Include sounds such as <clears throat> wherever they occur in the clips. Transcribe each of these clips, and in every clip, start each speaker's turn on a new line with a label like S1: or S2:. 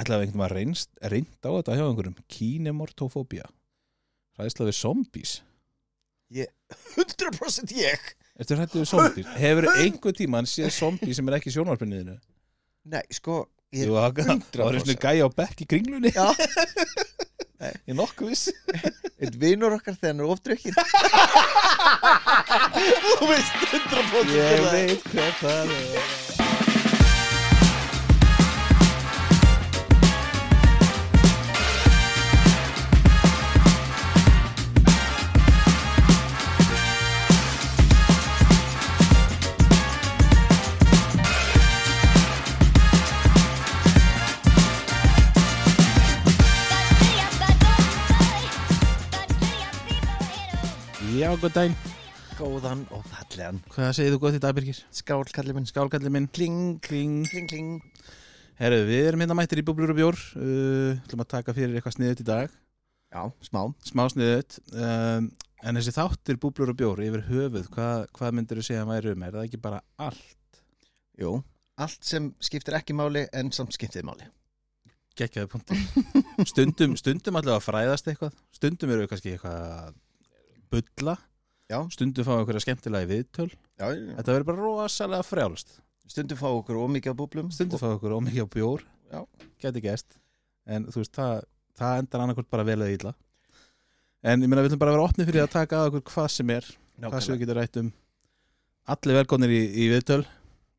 S1: ætlaði einhvern veginn reynst, reynd á þetta hjá einhverjum kínemortofóbía hræðsla við zombies
S2: 100% ég
S1: Eftir hrættið við zombies <laughs> Hefur einhver tíma hann séð zombie sem er ekki í sjónvarpinniðinu?
S2: Nei, sko Ég-
S1: Jú, það það var
S2: 100%.
S1: einu gæja á bekk í kringlunni <laughs>
S2: Já.
S1: Ég nokkuð viss
S2: Eitt vinur okkar þegar hann er <laughs> ofdrykkin
S3: Þú veist 100%
S2: Ég
S3: það.
S2: veit hvað það er
S1: Já, góð dæn
S2: Góðan og fallegan
S1: Hvað segir þú gott í dag, Birgir?
S2: Skál kalli minn
S1: Skálkalli minn
S2: Kling,
S1: Kring
S2: kling, kling
S1: Herru, við erum hérna mættir í Búblur og Bjór uh, ætlum að taka fyrir eitthvað sniðut í dag
S2: Já, smá
S1: Smá sniðut um, En þessi þáttir Búblur og Bjór yfir höfuð Hvað, hvað myndir þú segja að væri um? Er það ekki bara allt?
S2: Jú Allt sem skiptir ekki máli en samt skiptir máli
S1: geggjaði punktur <laughs> stundum, stundum allavega fræðast eitthvað stundum eru við kannski eitthvað að bulla
S2: Já.
S1: stundum fáum við einhverja skemmtilega viðtöl
S2: Já, já.
S1: þetta verður bara rosalega frjálst
S2: Stundum fá okkur ómikið á búblum
S1: stundum fáum við okkur ómikið á bjór
S2: Já.
S1: geti gæst en þú veist, það, það endar annarkvort bara vel eða illa en ég meina við ætlum bara að vera opnið fyrir að taka að okkur hvað sem er hvað sem við
S2: Nákvæmlega
S1: getum rætt um allir velkonir í, í viðtöl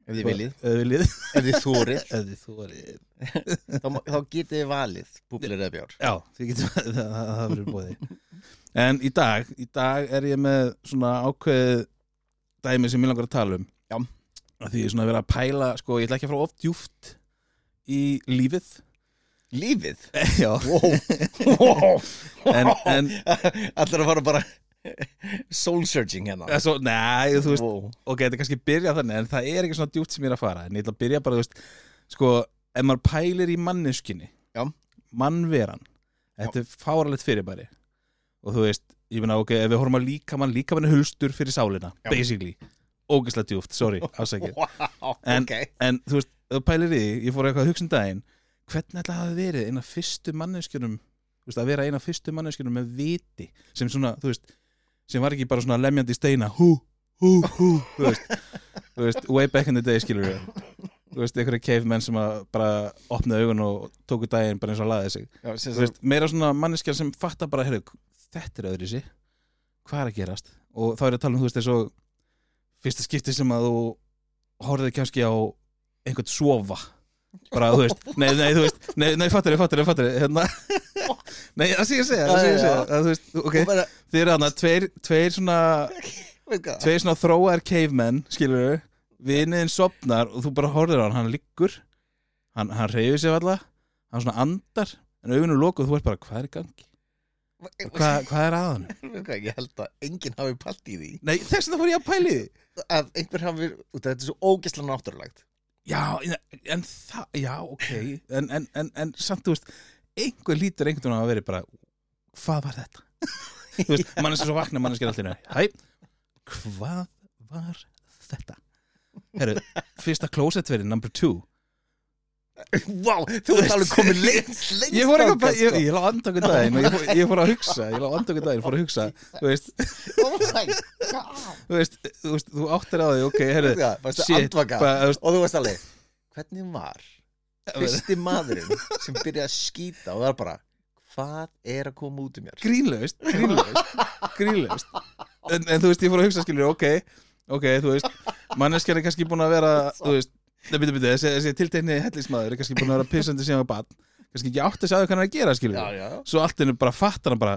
S2: Ef þið viljið
S1: eða viljið
S2: Ef þið
S1: <laughs>
S2: þórið
S1: eða þú verið
S2: þá, má- þá getið þið valið Búblir eða bjór
S1: Já, því getum <laughs> það, það, það, það verður bóði En í dag, í dag er ég með svona ákveðið dæmi sem ég langar að tala um
S2: Já.
S1: Af Því ég er svona að vera að pæla, sko, ég ætla ekki að fara oft djúft í lífið
S2: Lífið
S1: Já
S2: Wow, wow.
S1: <laughs> En,
S2: <laughs>
S1: en,
S2: Allar að fara bara Soul searching hérna
S1: en svo, nei, þú veist,
S2: wow.
S1: ok, þetta er kannski byrjað þannig En það er ekki svona djúft sem ég er að fara En ég ætla að byrja bara, þú veist, sko, ef maður pælir í manneskinni
S2: Já.
S1: Mannveran Þetta er fáralegt fyrirbæri Og þú veist, ég meina, ok, ef við horfum að líka mann Líka mann er hulstur fyrir sálina,
S2: Já.
S1: basically Ógislega djúft, sorry, afsækir
S2: wow,
S1: En-
S2: ok.
S1: En þú veist, ef þú pælir í, því, ég fór eitthvað að hugsa um daginn Hvernig ætla það hafi verið eina fyrstu manneskjunum Þú veist, að vera eina fyrstu manneskjunum með viti Sem svona, þú veist Sem var ekki bara svona lemjandi í steina Hú, hú, hú, þú veist Þú veist, way back in the day, skilur við Þú veist, einhverja cavemen sem að bara opnaði augun og tóku daginn bara eins og laðið sig
S2: Já, sem
S1: Þú
S2: sagt,
S1: veist, meira svona manneskjar sem fattar bara heyrðu, þetta er öðru sér hvað er að gerast og þá er ég að tala um þú veist eins og fyrsta skipti sem að þú horfið kannski á einhvern sofa bara þú <laughs> veist, nei, nei, þú veist nei, nei, fattar ég, fattar ég, fattar ég <laughs> hérna. nei, það sé ég að segja, það sé ég að segja að, þú veist, ok,
S2: og bara,
S1: þið eru þarna tveir, tveir svona,
S2: veit hvað
S1: tveir svona þróaðar cavemen, skilur við viniðin sopnar og þú bara horfir á hann hann liggur, hann, hann reyfir sér alltaf, hann svona andar en augunum lokuð, þú ert bara, hvað er í gangi
S2: Veit
S1: Hva, hvað er að hann?
S2: hvað, Ég held að enginn hafi palt í því
S1: Nei, þess að það fór ég að pæli því
S2: að einhver hafi út af þetta er svo ógeðslega náttúrulegt <laughs>
S1: Já, en það, já, ok En, en, en, en samt, þú veist einhver lítur einhvern veginn að vera bara hvað var þetta? <laughs> þú veist, manneskja svo vakna, manneskja allir Hæ, hvað var þetta? Herru, fyrsta klósettverið, number two
S2: Vá, þú ert alveg komið lengst, lengst
S1: Ég fór eitthvað,
S2: þangað, sko.
S1: ég, ég lá andakun daginn og ég fór, ég fór að hugsa, ég lá andakun daginn fór að hugsa, þú veist,
S2: sko. Oh my god
S1: þú veist, þú veist, þú áttir á því, ok, herru
S2: Það varstu
S1: shit,
S2: andvaka
S1: bara, þú veist,
S2: Og þú varst alveg Hvernig var fyrsti maðurinn sem byrjaði að skýta og það var bara Hvað er að koma út um mér?
S1: grínlaust, grínlaust, grínlaust en, en þú veist, ég fór að hugsa skilur, ok, ok, þú veist manneskjar er kannski búin að vera, þú veist nei, byrju, byrju, þessi, þessi tiltekni hellismæður er kannski búin að vera pissandi síðan á barn kannski ekki átt þessi aður hvað hann er að gera, skilur
S2: já
S1: svo allt henni bara fattar hann bara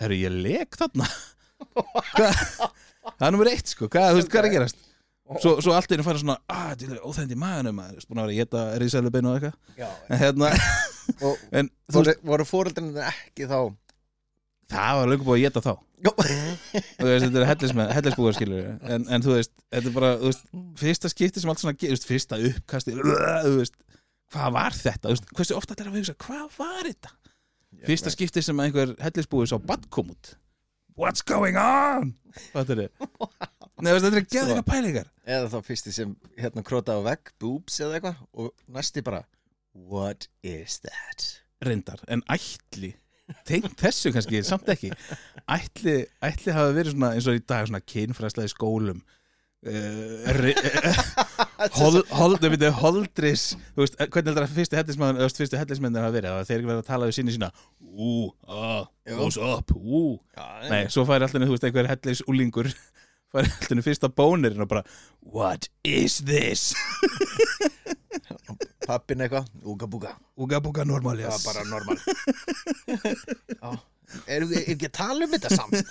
S1: herru, ég leik þarna Hva? það er nummer eitt, sko hvað, þú veist, hvað er að gerast svo, svo allt henni fara svona, að, þetta er óþægndi í maðunum maður, þú veist, búin að vera að geta risaðlega beinu og eitthvað
S2: Já,
S1: en hérna,
S2: og
S1: en þú veist,
S2: voru, voru fóreldrarnir ekki þá
S1: það var lögum búið að geta þá
S2: Jó,
S1: Þú veist, þetta er hellismenn, hellisbúar skilur en, en þú veist, þetta er bara þú veist, fyrsta skipti sem allt svona gerist fyrsta uppkasti, þú veist hvað var þetta, þú veist, hversu ofta allir að hugsa hvað var þetta, fyrsta skipti sem einhver hellisbúi sá badd kom út what's going on þetta er <laughs> Nei, þú veist, þetta er geðvika pælingar
S2: eða þá fyrsti sem hérna krótaði á vegg, boobs eða eitthvað og næsti bara What is that?
S1: reyndar, en ætli tengt þessu kannski, samt ekki ætli, ætli hafa verið svona eins og í dag svona kynfræsla í skólum <laughs> uh, hol, hol, myndi, holdris þú veist, eh, hvernig heldur að fyrstu hellismann öst fyrstu hellismennir hafa verið, að þeir verið að tala við sinni sína, ú, ah,
S2: Já.
S1: goes up ú,
S2: Já,
S1: nei, svo fær allinu, þú veist, einhver hellis úlingur <laughs> fær allinu fyrsta bónirinn og bara what is this?
S2: Pappin eitthvað, úga búga
S1: Uga buga
S2: Það var
S1: normaljas
S2: bara
S1: <laughs>
S2: normal Já Erum við ekki að tala um þetta samt?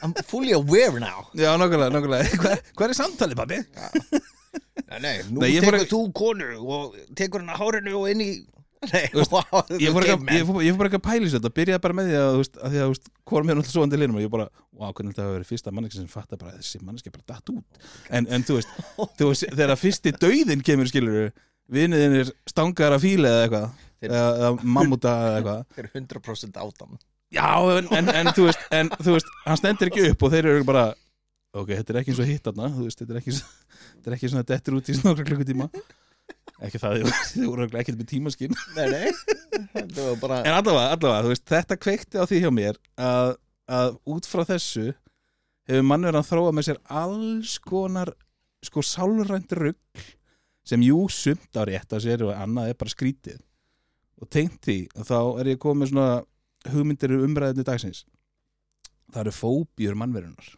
S2: I'm fully aware now
S1: Já, nokkulega, <laughs> nokkulega, hvað, hvað er samtalið, pabbi?
S2: Nei, nei, nú
S1: Nei, ég fór
S2: tekur
S1: ekki-
S2: þú konu og tekur hann að hárinu og inn í Nei,
S1: veist,
S2: wow,
S1: ég fór
S2: þetta
S1: ekki
S2: er
S1: að-
S2: menn.
S1: ég fór- ég fór ekki að pæla í þessu þetta byrjaði bara með því að þú veist að því að þú veist hvora mér náttúrulega svoandi linum og ég bara wow, hvernig þetta hafa verið fyrsta manneski sem fattar bara að þessi manneski er bara datt út en, en
S2: <laughs>
S1: þú veist, þú veist þegar að fyrsti dauðin kemur skilur vinniðin er stangar að fíla eða eitthvað
S2: Þeir-
S1: eða, eða mammúta eða eitthvað
S2: Þetta er 100% átam
S1: já en, en, en, þú veist, en þú veist hann stendur ekki upp og þeir eru bara ok, þetta er ekki eins og hitt þarna þú veist, þetta er ekki, eins- þetta er ekki svona dettur út í nokkra klukkutíma ekki það, <laughs> þau voru örugglega ekkert með tímaskinn
S2: Nei, nei, <laughs> þetta var bara
S1: En allavega, allavega, þú veist, þetta kveikti á því hjá mér að, að út frá þessu hefur mannverðan þróað með sér alls konar sko sálrænt rugg sem jú sumt á rétt að sér og annað er bara skrítið og tengt því að þá er ég komið svona hugmyndir um umræðinu dagsins það eru fóbjur mannverðunar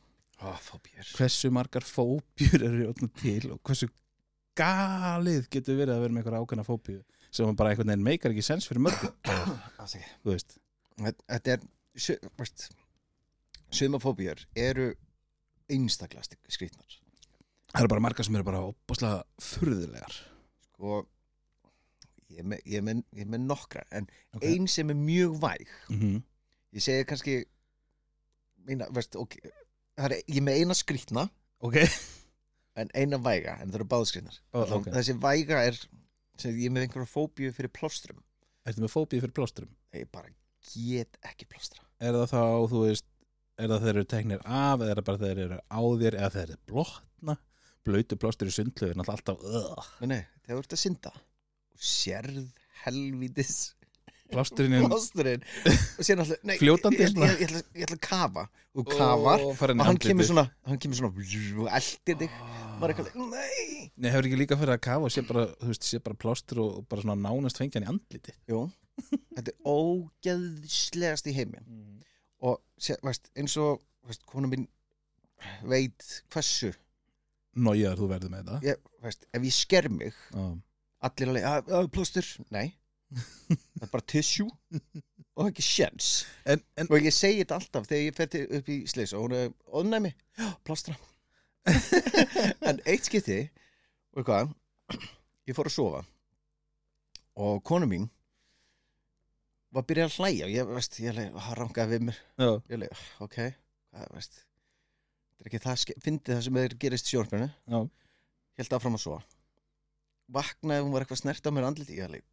S2: Ó, fóbjör
S1: hversu margar fóbjur eru orðnar til og hversu galið getur verið að vera með einhverja ákveðna fóbju sem bara einhvern veginn meikar ekki sens fyrir mörgum,
S2: Þetta
S1: þú veist
S2: þetta er sö- veist, Suma fóbjör eru einstaklega stik- skrýtnar
S1: það eru bara margar sem eru bara opaslega furðulegar
S2: Sko Ég er með- ég er með ég er með nokkra En
S1: Ok.
S2: ein sem er mjög væg
S1: mm
S2: Mhm. Ég segi kannski eina, veist, ok, það er, Ég er með eina skrýtna
S1: ok,
S2: en eina væga, en það eru báð skrýtnar
S1: Ó,
S2: Allan-
S1: ok.
S2: þessi væga er sem ég er með einhverja fóbíu fyrir plástrum
S1: ertu með fóbíu fyrir plástrum
S2: ég bara get ekki plástra
S1: er það þá, þú veist er það þeir eru teknir af, eða er það bara þeir eru á þér eða þeir eru blotna blöytu plástur í sundlu er náttúrulega alltaf ugh.
S2: nei, nei, þegar þú ert að synda og sérð helvítis
S1: plásturinn er
S2: plásturinn og sér náttúrulega, nei,
S1: Fljótandi
S2: ég, ég,
S1: svona.
S2: ég, ég, ætla, ég ætla að kafa og kafar
S1: og farin í
S2: og hann
S1: andlitið.
S2: kemur svona hann kemur svona og eldir þig maður er eitthvað, nei
S1: Nei, hefur ekki líka fyrir að kafa og sé bara, þú veist, sé bara plástur og og bara svona nánast fengjan í andliti
S2: Jú, þetta er ógeðslegast í heiminn
S1: Mm.
S2: og sé, veist, eins og veist, konu mín veit hversu
S1: Nójaður þú verður með Ah. þetta
S2: ég, veist, ef ég sker mig
S1: Já.
S2: allir alveg, að, að plóstur, nei það er bara tissue og ekki sjens
S1: en, en,
S2: og ég segi þetta alltaf þegar ég fer til, upp í slis og hún er ónæmi, já, plóstra <laughs> en eitt skipti og hvað ég fór að sofa og konu mín var byrjað að hlæja og ég veist, ég leið, hann rangaði við mér
S1: já,
S2: ég leið, ok, hvað veist þetta er ekki það, ske- fyndið það sem er gerist í sjónarfinu
S1: já,
S2: held áfram að svo vaknaði, hún var eitthvað snert á mér andliti ég alveg,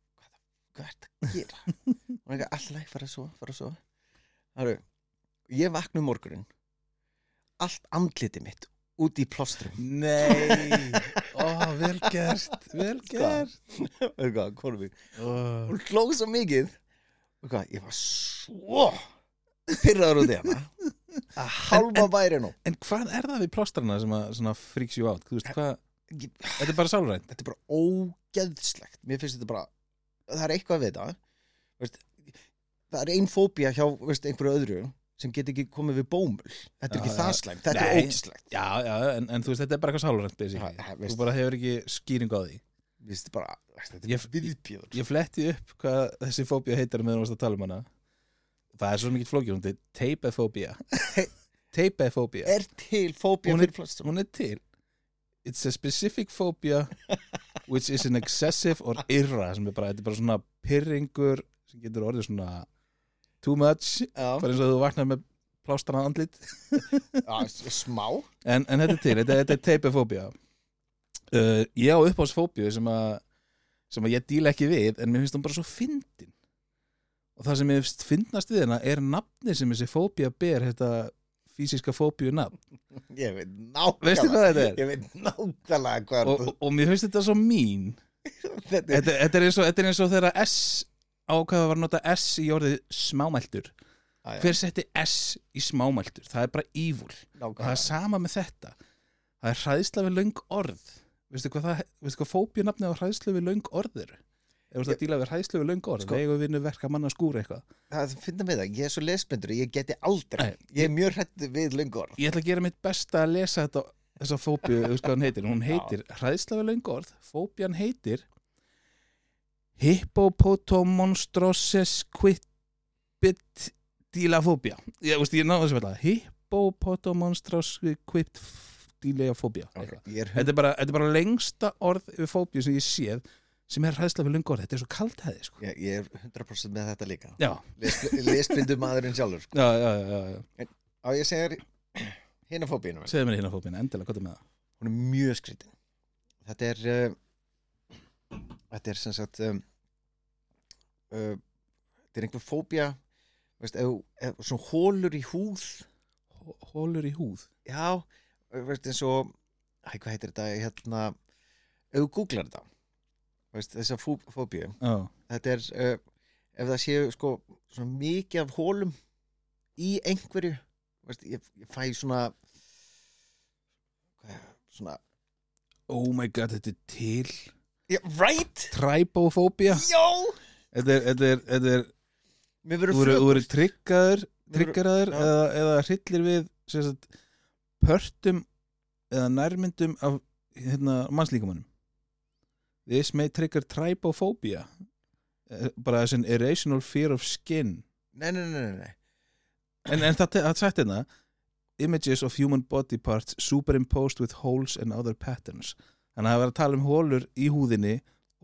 S2: hvað, hvað er þetta að gera
S1: <laughs>
S2: hún er eitthvað alltaf fara að svo fara að svo Haru, ég vakna um morgunin allt andliti mitt út í plóstrum
S1: <laughs> nei ó, vel gert, vel gert
S2: eitthvað, konum við
S1: oh.
S2: hún hlóð svo mikið eitthvað, ég var svo pyrraður út í hana
S1: <laughs>
S2: Ah, að halva væri nú
S1: En hvað er það við plástrana sem að svona freaks you out? Þú veist, hvað,
S2: Ég-
S1: þetta er bara sálrænt
S2: þetta er bara ógeðslegt mér finnst þetta bara, það er eitthvað við þetta veist, það er ein fóbía hjá veist, einhverju öðru sem get ekki komið við bómul þetta er
S1: Já,
S2: ekki
S1: já.
S2: það slæmt, þetta
S1: Nei.
S2: er ógeðslegt
S1: Já, já, en, en þú veist, þetta er bara eitthvað sálrænt basically.
S2: Ha, ha,
S1: Þú
S2: veist.
S1: bara hefur ekki skýringu á því
S2: Mér finnst þetta bara, veist, þetta
S1: Ég-
S2: er viðbjöður
S1: Ég fletti upp hvað þessi fóbía heitar meðan varst að tala um hana Það er svo mikið flókið, hún er <laughs> teipefóbía Teipefóbía
S2: er til fóbía
S1: Hún er-
S2: fyrir plástum
S1: Hún er til It's a specific phobia which is an excessive or irra sem er bara, þetta er bara svona pyrringur sem getur orðið svona too much bara eins og þú vaknar með plástrana andlit
S2: smá
S1: en, en þetta er til, þetta, þetta er teipefóbía uh, ég á uppáðsfóbíu sem að sem að ég díla ekki við en mér finnst hún bara svo fyndin og það sem mér finnst fyndnast við hérna er nafni sem þessi fóbía ber þetta fysiska fóbíu nafn
S2: ég veit
S1: Veistu hvað
S2: nákvæmlega
S1: þetta er?
S2: ég veit nákvæmlega hvað
S1: og, og, og mér finnst þetta svo mín
S2: Þetta er
S1: Þetta, þetta, er eins og, þetta er eins og þegar S ákveða var að nota S í orðið smámæltur
S2: Á, já,
S1: Hver setti S í smámæltur? Það er bara evil og það
S2: nákvæmlega.
S1: er sama með þetta Það er hræðsla við löng orð Veistu hvað, það- veistu hvað fóbjunafni á hræðsla við löng orð eru? Ef þú ert að díla við hræðsla við löng orð
S2: Sko-
S1: sko, Vegu vinnu verka manna skúra eitthvað
S2: Það finna með það, ég er svo lesbendur Ég geti aldrei,
S1: Nei.
S2: ég er mjög hrætt við löngur
S1: Ég ætla að gera mitt besta að lesa þetta þessa fóbju, þú veist hvað hún heitir hún heitir hræðsla við löng orð, fóbjan heitir Hippopotomonstrosis quipit dílafóbja ég veist, ég náðu þessu vel að Hippopotomonstrosis quipit dílafóbja okay.
S2: Ég er
S1: þetta, er bara- þetta er bara lengsta orð við fóbju sem ég séð sem er hræðsla við löng orð, þetta er svo kalt hæði sko.
S2: Ég, ég er 100% með þetta líka
S1: já,
S2: Lesbindu maðurinn sjálfur sko.
S1: já, já, já, já.
S2: Á ég segir hinn að fóbíinu
S1: segðu mér hérna fóbjuna, endilega, hvað er með það
S2: Hún er mjög skrítin Þetta er uh, Þetta er sem sagt um, uh, Þetta er einhver fóbía veist, ef, ef, Svona hólur í húð
S1: Hó- hólur í húð
S2: Já, veist eins og Æ, hvað heitir þetta hérna Ef þú googlar þetta veist, Þessa fó, fóbíu
S1: já,
S2: þetta er uh, ef það séu sko svona mikið af hólum í einhverju veist, ég, ég fæ svona hvað, svona
S1: oh my god, þetta er til
S2: yeah, right,
S1: Træbófóbía
S2: já
S1: Þetta er, þetta er, þetta er
S2: mér verður
S1: Þú eru- þú eru tryggaður
S2: Mér verður-
S1: Tryggaður
S2: já.
S1: eða, eða hryllir við sem sagt, Pörtum Eða nærmyndum af hérna, Mannslíkamunum This may trigger træbófóbía Eh, Bara þessin irrational fear of skin
S2: nei, nei, nei, nei, nei.
S1: En, en það, það sagt hérna Images of human body parts superimposed with holes and other patterns Þannig að það var að tala um hólur í húðinni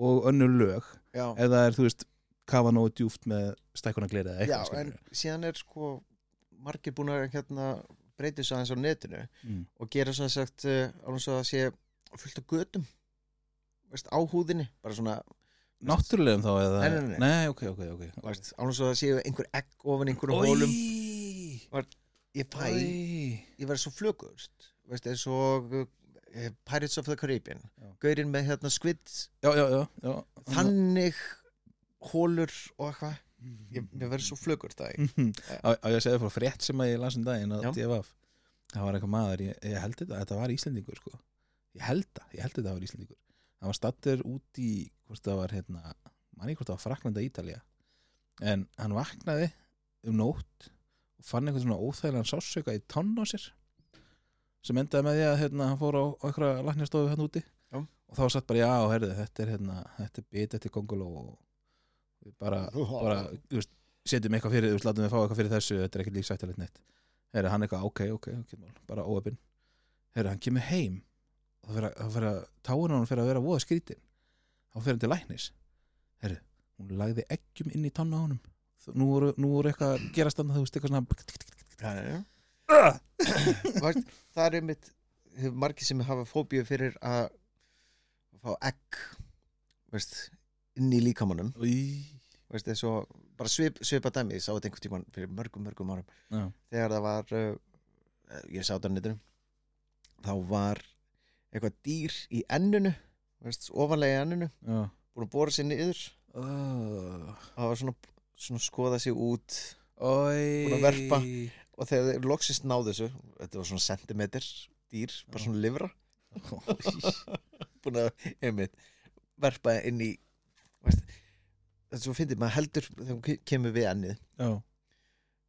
S1: og önnur lög
S2: Já,
S1: eða er, þú veist, kafa nógu djúft með stækuna eða
S2: já,
S1: eitthvað
S2: en
S1: skilurðu.
S2: síðan er sko margir búin að hérna breyta svo aðeins á netinu
S1: Mm.
S2: og gera svona sagt uh, alveg svo að sé fullt af götum veist, á húðinni bara svona,
S1: Náttúrulegum þá eða
S2: Nei, nei, nei.
S1: ok, ok, ok
S2: veist, alveg svo að séu einhver egg ofan einhverjum hólum
S1: Ólum
S2: ég fæ, ég verði svo flugust veist, eins og eh, Pirates of the Caribbean
S1: Já.
S2: gaurinn með hérna Squid
S1: Já, já, já, já
S2: þannig hólur og eitthvað ég, ég verði svo flugust það
S1: Mhm. Á á ég að segja frá frétt sem að ég las um daginn að
S2: Já.
S1: DFF Það var eitthvað maður, ég, ég held þetta, þetta var Íslendingur sko Ég held það, ég held þetta var Íslendingur Það var stattur út í, hvort það var hérna Manni hvort það var Fraklanda Ítalía En hann vaknaði um nótt og fann einhvern svona óþægilegan sásauka í tonn á sér sem endaði með því að hérna, hann fór á, á einhverja læknastofu hann úti
S2: Já.
S1: og þá satt bara já, herðu, þetta er hérna, þetta er bit, þetta er konguló og við bara, Mm. bara þú veist, setjum eitthvað fyrir, þú veist, látum við fá eitthvað fyrir þessu þetta er ekkert lífsættilegt neitt herðu, hann eitthvað, ok, ok, ok, mál, bara óöpinn herðu, hann kemur heim og það fyrir að, það fyrir að táin á hann fyrir að vera voða skrítin þá fyrir hann til læknis herðu, hún lagði eggjum inn í tanna á honum nú voru, nú voru eitthvað að gerast þannig, þú veist, eitthvað svona <laughs>
S2: það er einmitt hefur margir sem hafa fóbíu fyrir að fá egg veist, inn í líkamannum
S1: Í-
S2: veist, eins og bara svip, svipa dæmi ég sá þetta einhvern tímann fyrir mörgum, mörgum árum
S1: Já.
S2: þegar það var uh, ég sá þetta á netinu þá var eitthvað dýr í ennunu veist, ofanlega í ennunu,
S1: já
S2: búin að bóra sér niður
S1: Búin
S2: það var svona, svona skoða sér út
S1: að
S2: að verpa. og þegar þeir loksist náðu þessu þetta var svona sentimeter dýr bara svona livra búin að, einmitt, verpa inn í veist, þetta er svo fyndið, maður heldur þegar hún kemur við ennið
S1: Já,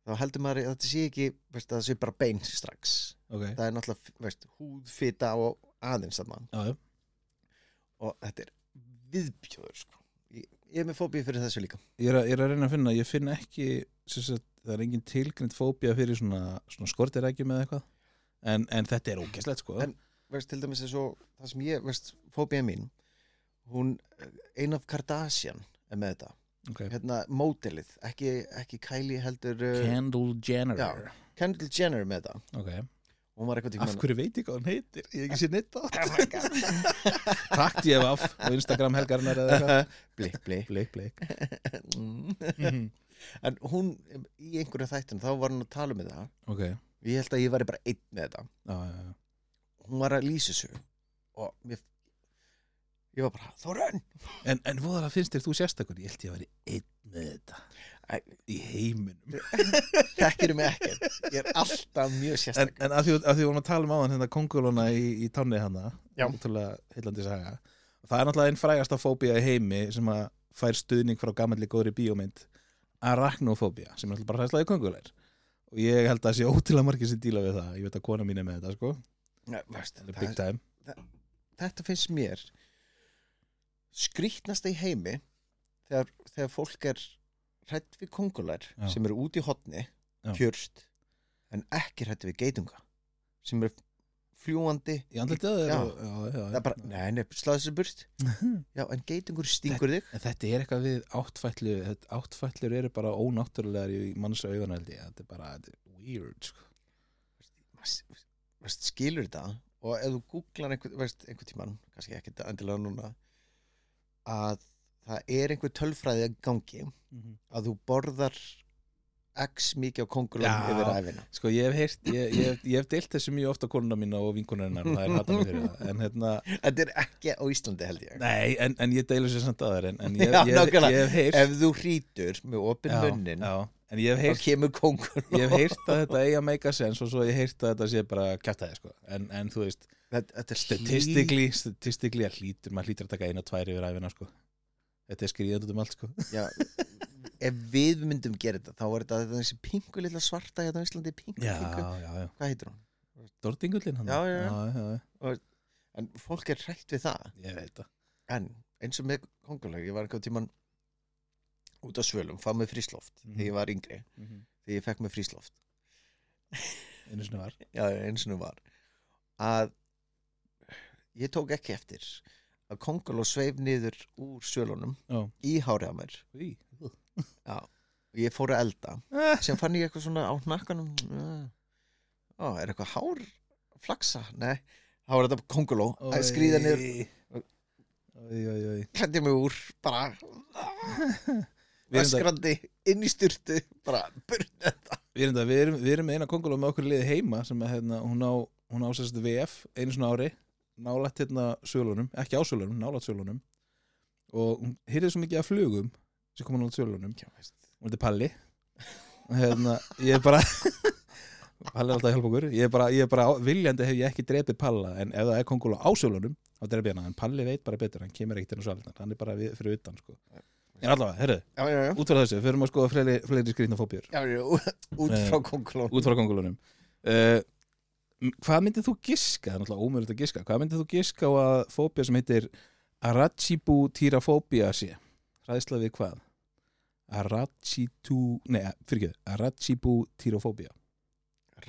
S2: þá heldur maður að þetta sé ekki veist, að það sé bara bein strax
S1: ok
S2: það er náttúrulega veist, húð, fita og aðeins þarna
S1: Já, já.
S2: og þetta er viðbjöður sko. ég, ég er með fóbíu fyrir þessu líka
S1: Ég er, að, ég er að reyna að finna, ég finn ekki sem sagt, það er engin tilgrind fóbía fyrir svona, svona skortirækjum eða eitthvað en, en þetta er ógeðslegt sko
S2: En- veist, til dæmis eins og það sem ég veist, fóbíu mín hún, ein af Kardashian er með þetta,
S1: okay.
S2: hérna mótilið ekki, ekki Kylie heldur uh,
S1: Kendall Jenner
S2: Já. Kendall Jenner er með þetta
S1: okay.
S2: hún var
S1: Af
S2: eitthvað <laughs> tíma
S1: hverju veit ég hvað hann heitir? Ég hef ekki sér neitt
S2: Oh
S1: átt <laughs> Takk DFF á Instagram helgarinnar eða
S2: <laughs>
S1: eitthvað
S2: blik, blik
S1: Blik, blik Mhm.
S2: en hún, í einhverju þættin þá var hún að tala með það
S1: Ok, já,
S2: ég held að ég væri bara einn með þetta
S1: já, já
S2: hún var að lýsa þessu og mér, ég var bara, Þórun
S1: En, en voðalega finnst þér þú sérstakur Ég held ég að veri einn með þetta
S2: Æ.
S1: Í heiminum
S2: þekkir mig ekkert ég er alltaf mjög
S1: En,
S2: sérstak
S1: en að, því, að því vorum að tala um áðan hérna kongulona í, í tánni hana
S2: Já.
S1: Ótrúlega heillandi saga Það er náttúrulega einn frægasta fóbía í heimi sem að fær stuðning frá gamalli góðri bíómynd Arachnofóbía sem er náttúrulega bara hræðslaði kongular og ég held að það sé ótrúlega margir sem díla við það Ég veit að kona mín er með þetta sko
S2: Nei, veist,
S1: Það er
S2: það,
S1: big time
S2: þetta finnst mér skrýtnasta í heimi þegar, þegar fólk er hrætt við kongular
S1: Já.
S2: sem eru út í hotni,
S1: Já.
S2: kjörst en ekki hrætt við geitunga sem eru fljúandi
S1: Í andlitið á þér
S2: Já.
S1: og- já, já,
S2: það er bara, nei, nei, sláðu þessu burt
S1: <laughs>
S2: já, en geitungur stingur þig
S1: En þetta er eitthvað við áttfætlu þetta- áttfætlur eru bara ónáttúrulegar í mannsa auðanældi þetta er bara þetta er weird sko.
S2: Maður- maður skilur þetta og ef þú googlar einhver, veist, einhver tíman kannski ekki þetta endilega núna að það er einhver tölfræði að gangi
S1: Mhm.
S2: að þú borðar x mikið á kongulum
S1: Já.
S2: yfir æfina
S1: Sko ég hef heyrt ég, ég, hef- ég hef deilt þessu mjög ofta konuna mína og vinkunarinnar og það er hata mig fyrir það en hérna
S2: þetta er ekki á Íslandi held ég
S1: nei en, en ég deilu sér samt að þær en, en ég,
S2: Já,
S1: ég, ég,
S2: nákvæmlega.
S1: hef heyrt
S2: ef þú hrítur með opinn munnin
S1: já, en ég hef
S2: þá <laughs>
S1: heyrt
S2: kemur kongul
S1: ég hef heyrt að þetta eiga make a sense og svo hef ég heyrt að þetta sé bara kjartaði sko en, en þú veist
S2: þetta, þetta hlý-
S1: statistically statistically að hlýtur maður hlýtur að taka eina og tvær yfir æfina sko þetta er skriðið út um allt sko
S2: já, ef við myndum gera þetta þá er þetta þetta þessi pingu lilla svarta hérna á Íslandi pingu,
S1: <laughs> já
S2: pingu.
S1: já já
S2: hvað heitir hún?
S1: Dórdingullin hann
S2: Já, já, já.
S1: já, já.
S2: en fólk er hrætt við það
S1: Ég veit það
S2: en eins og með kongulag ég var einhvern tíman út á svölum, fá mig frísloft
S1: Mhm.
S2: þegar ég var yngri, þegar ég fekk mig frísloft
S1: Einu sinni var
S2: já, eins og nú var að ég tók ekki eftir að konguló sveif niður úr svölunum
S1: Já.
S2: í hárið á mér
S1: Í.
S2: og ég fór að elda sem fann ég eitthvað svona á hnakkanum já, er eitthvað hár að flaksa, nei þá var þetta konguló að skrýða niður
S1: Í, í, í, í.
S2: klæddi mig úr bara
S1: Við erum það-
S2: öskrandi inn í styrtu bara burna
S1: við erum það- við erum- við erum með eina konguló með okkur liði heima sem að hérna, hún á, hún á sérst VF einu svona ári nálætt hérna sölunum, ekki á sölunum, nálætt sölunum og hún heyrði svo mikið af flugum sem kom nálætt sölunum og þetta er Palli og hérna, ég er bara <laughs> Palli er alltaf að hjálpa okkur ég er bara, ég er bara á- viljandi hef ég ekki drepið Palla en ef það er konguló á sölunum þá drepið hann, en Palli veit bara betur, hann kemur ekkert inn á svalirnar, hann er bara við, fyrir utan sko. en allavega, herru,
S2: já, já, já.
S1: út frá þessu, förum að skoða fleiri, fleiri skrýtna fóbjör,
S2: Já, já, út
S1: Eh,
S2: frá konglón
S1: út frá kongulónum uh, hvað myndið þú giska það er náttúrulega ómögulegt að giska, hvað myndið þú giska á að fóbjör sem heitir Arachibu tyrafóbia sé ræðsla við hvað Arachitu, nei, fyrir ekki Arachibu tyrafóbia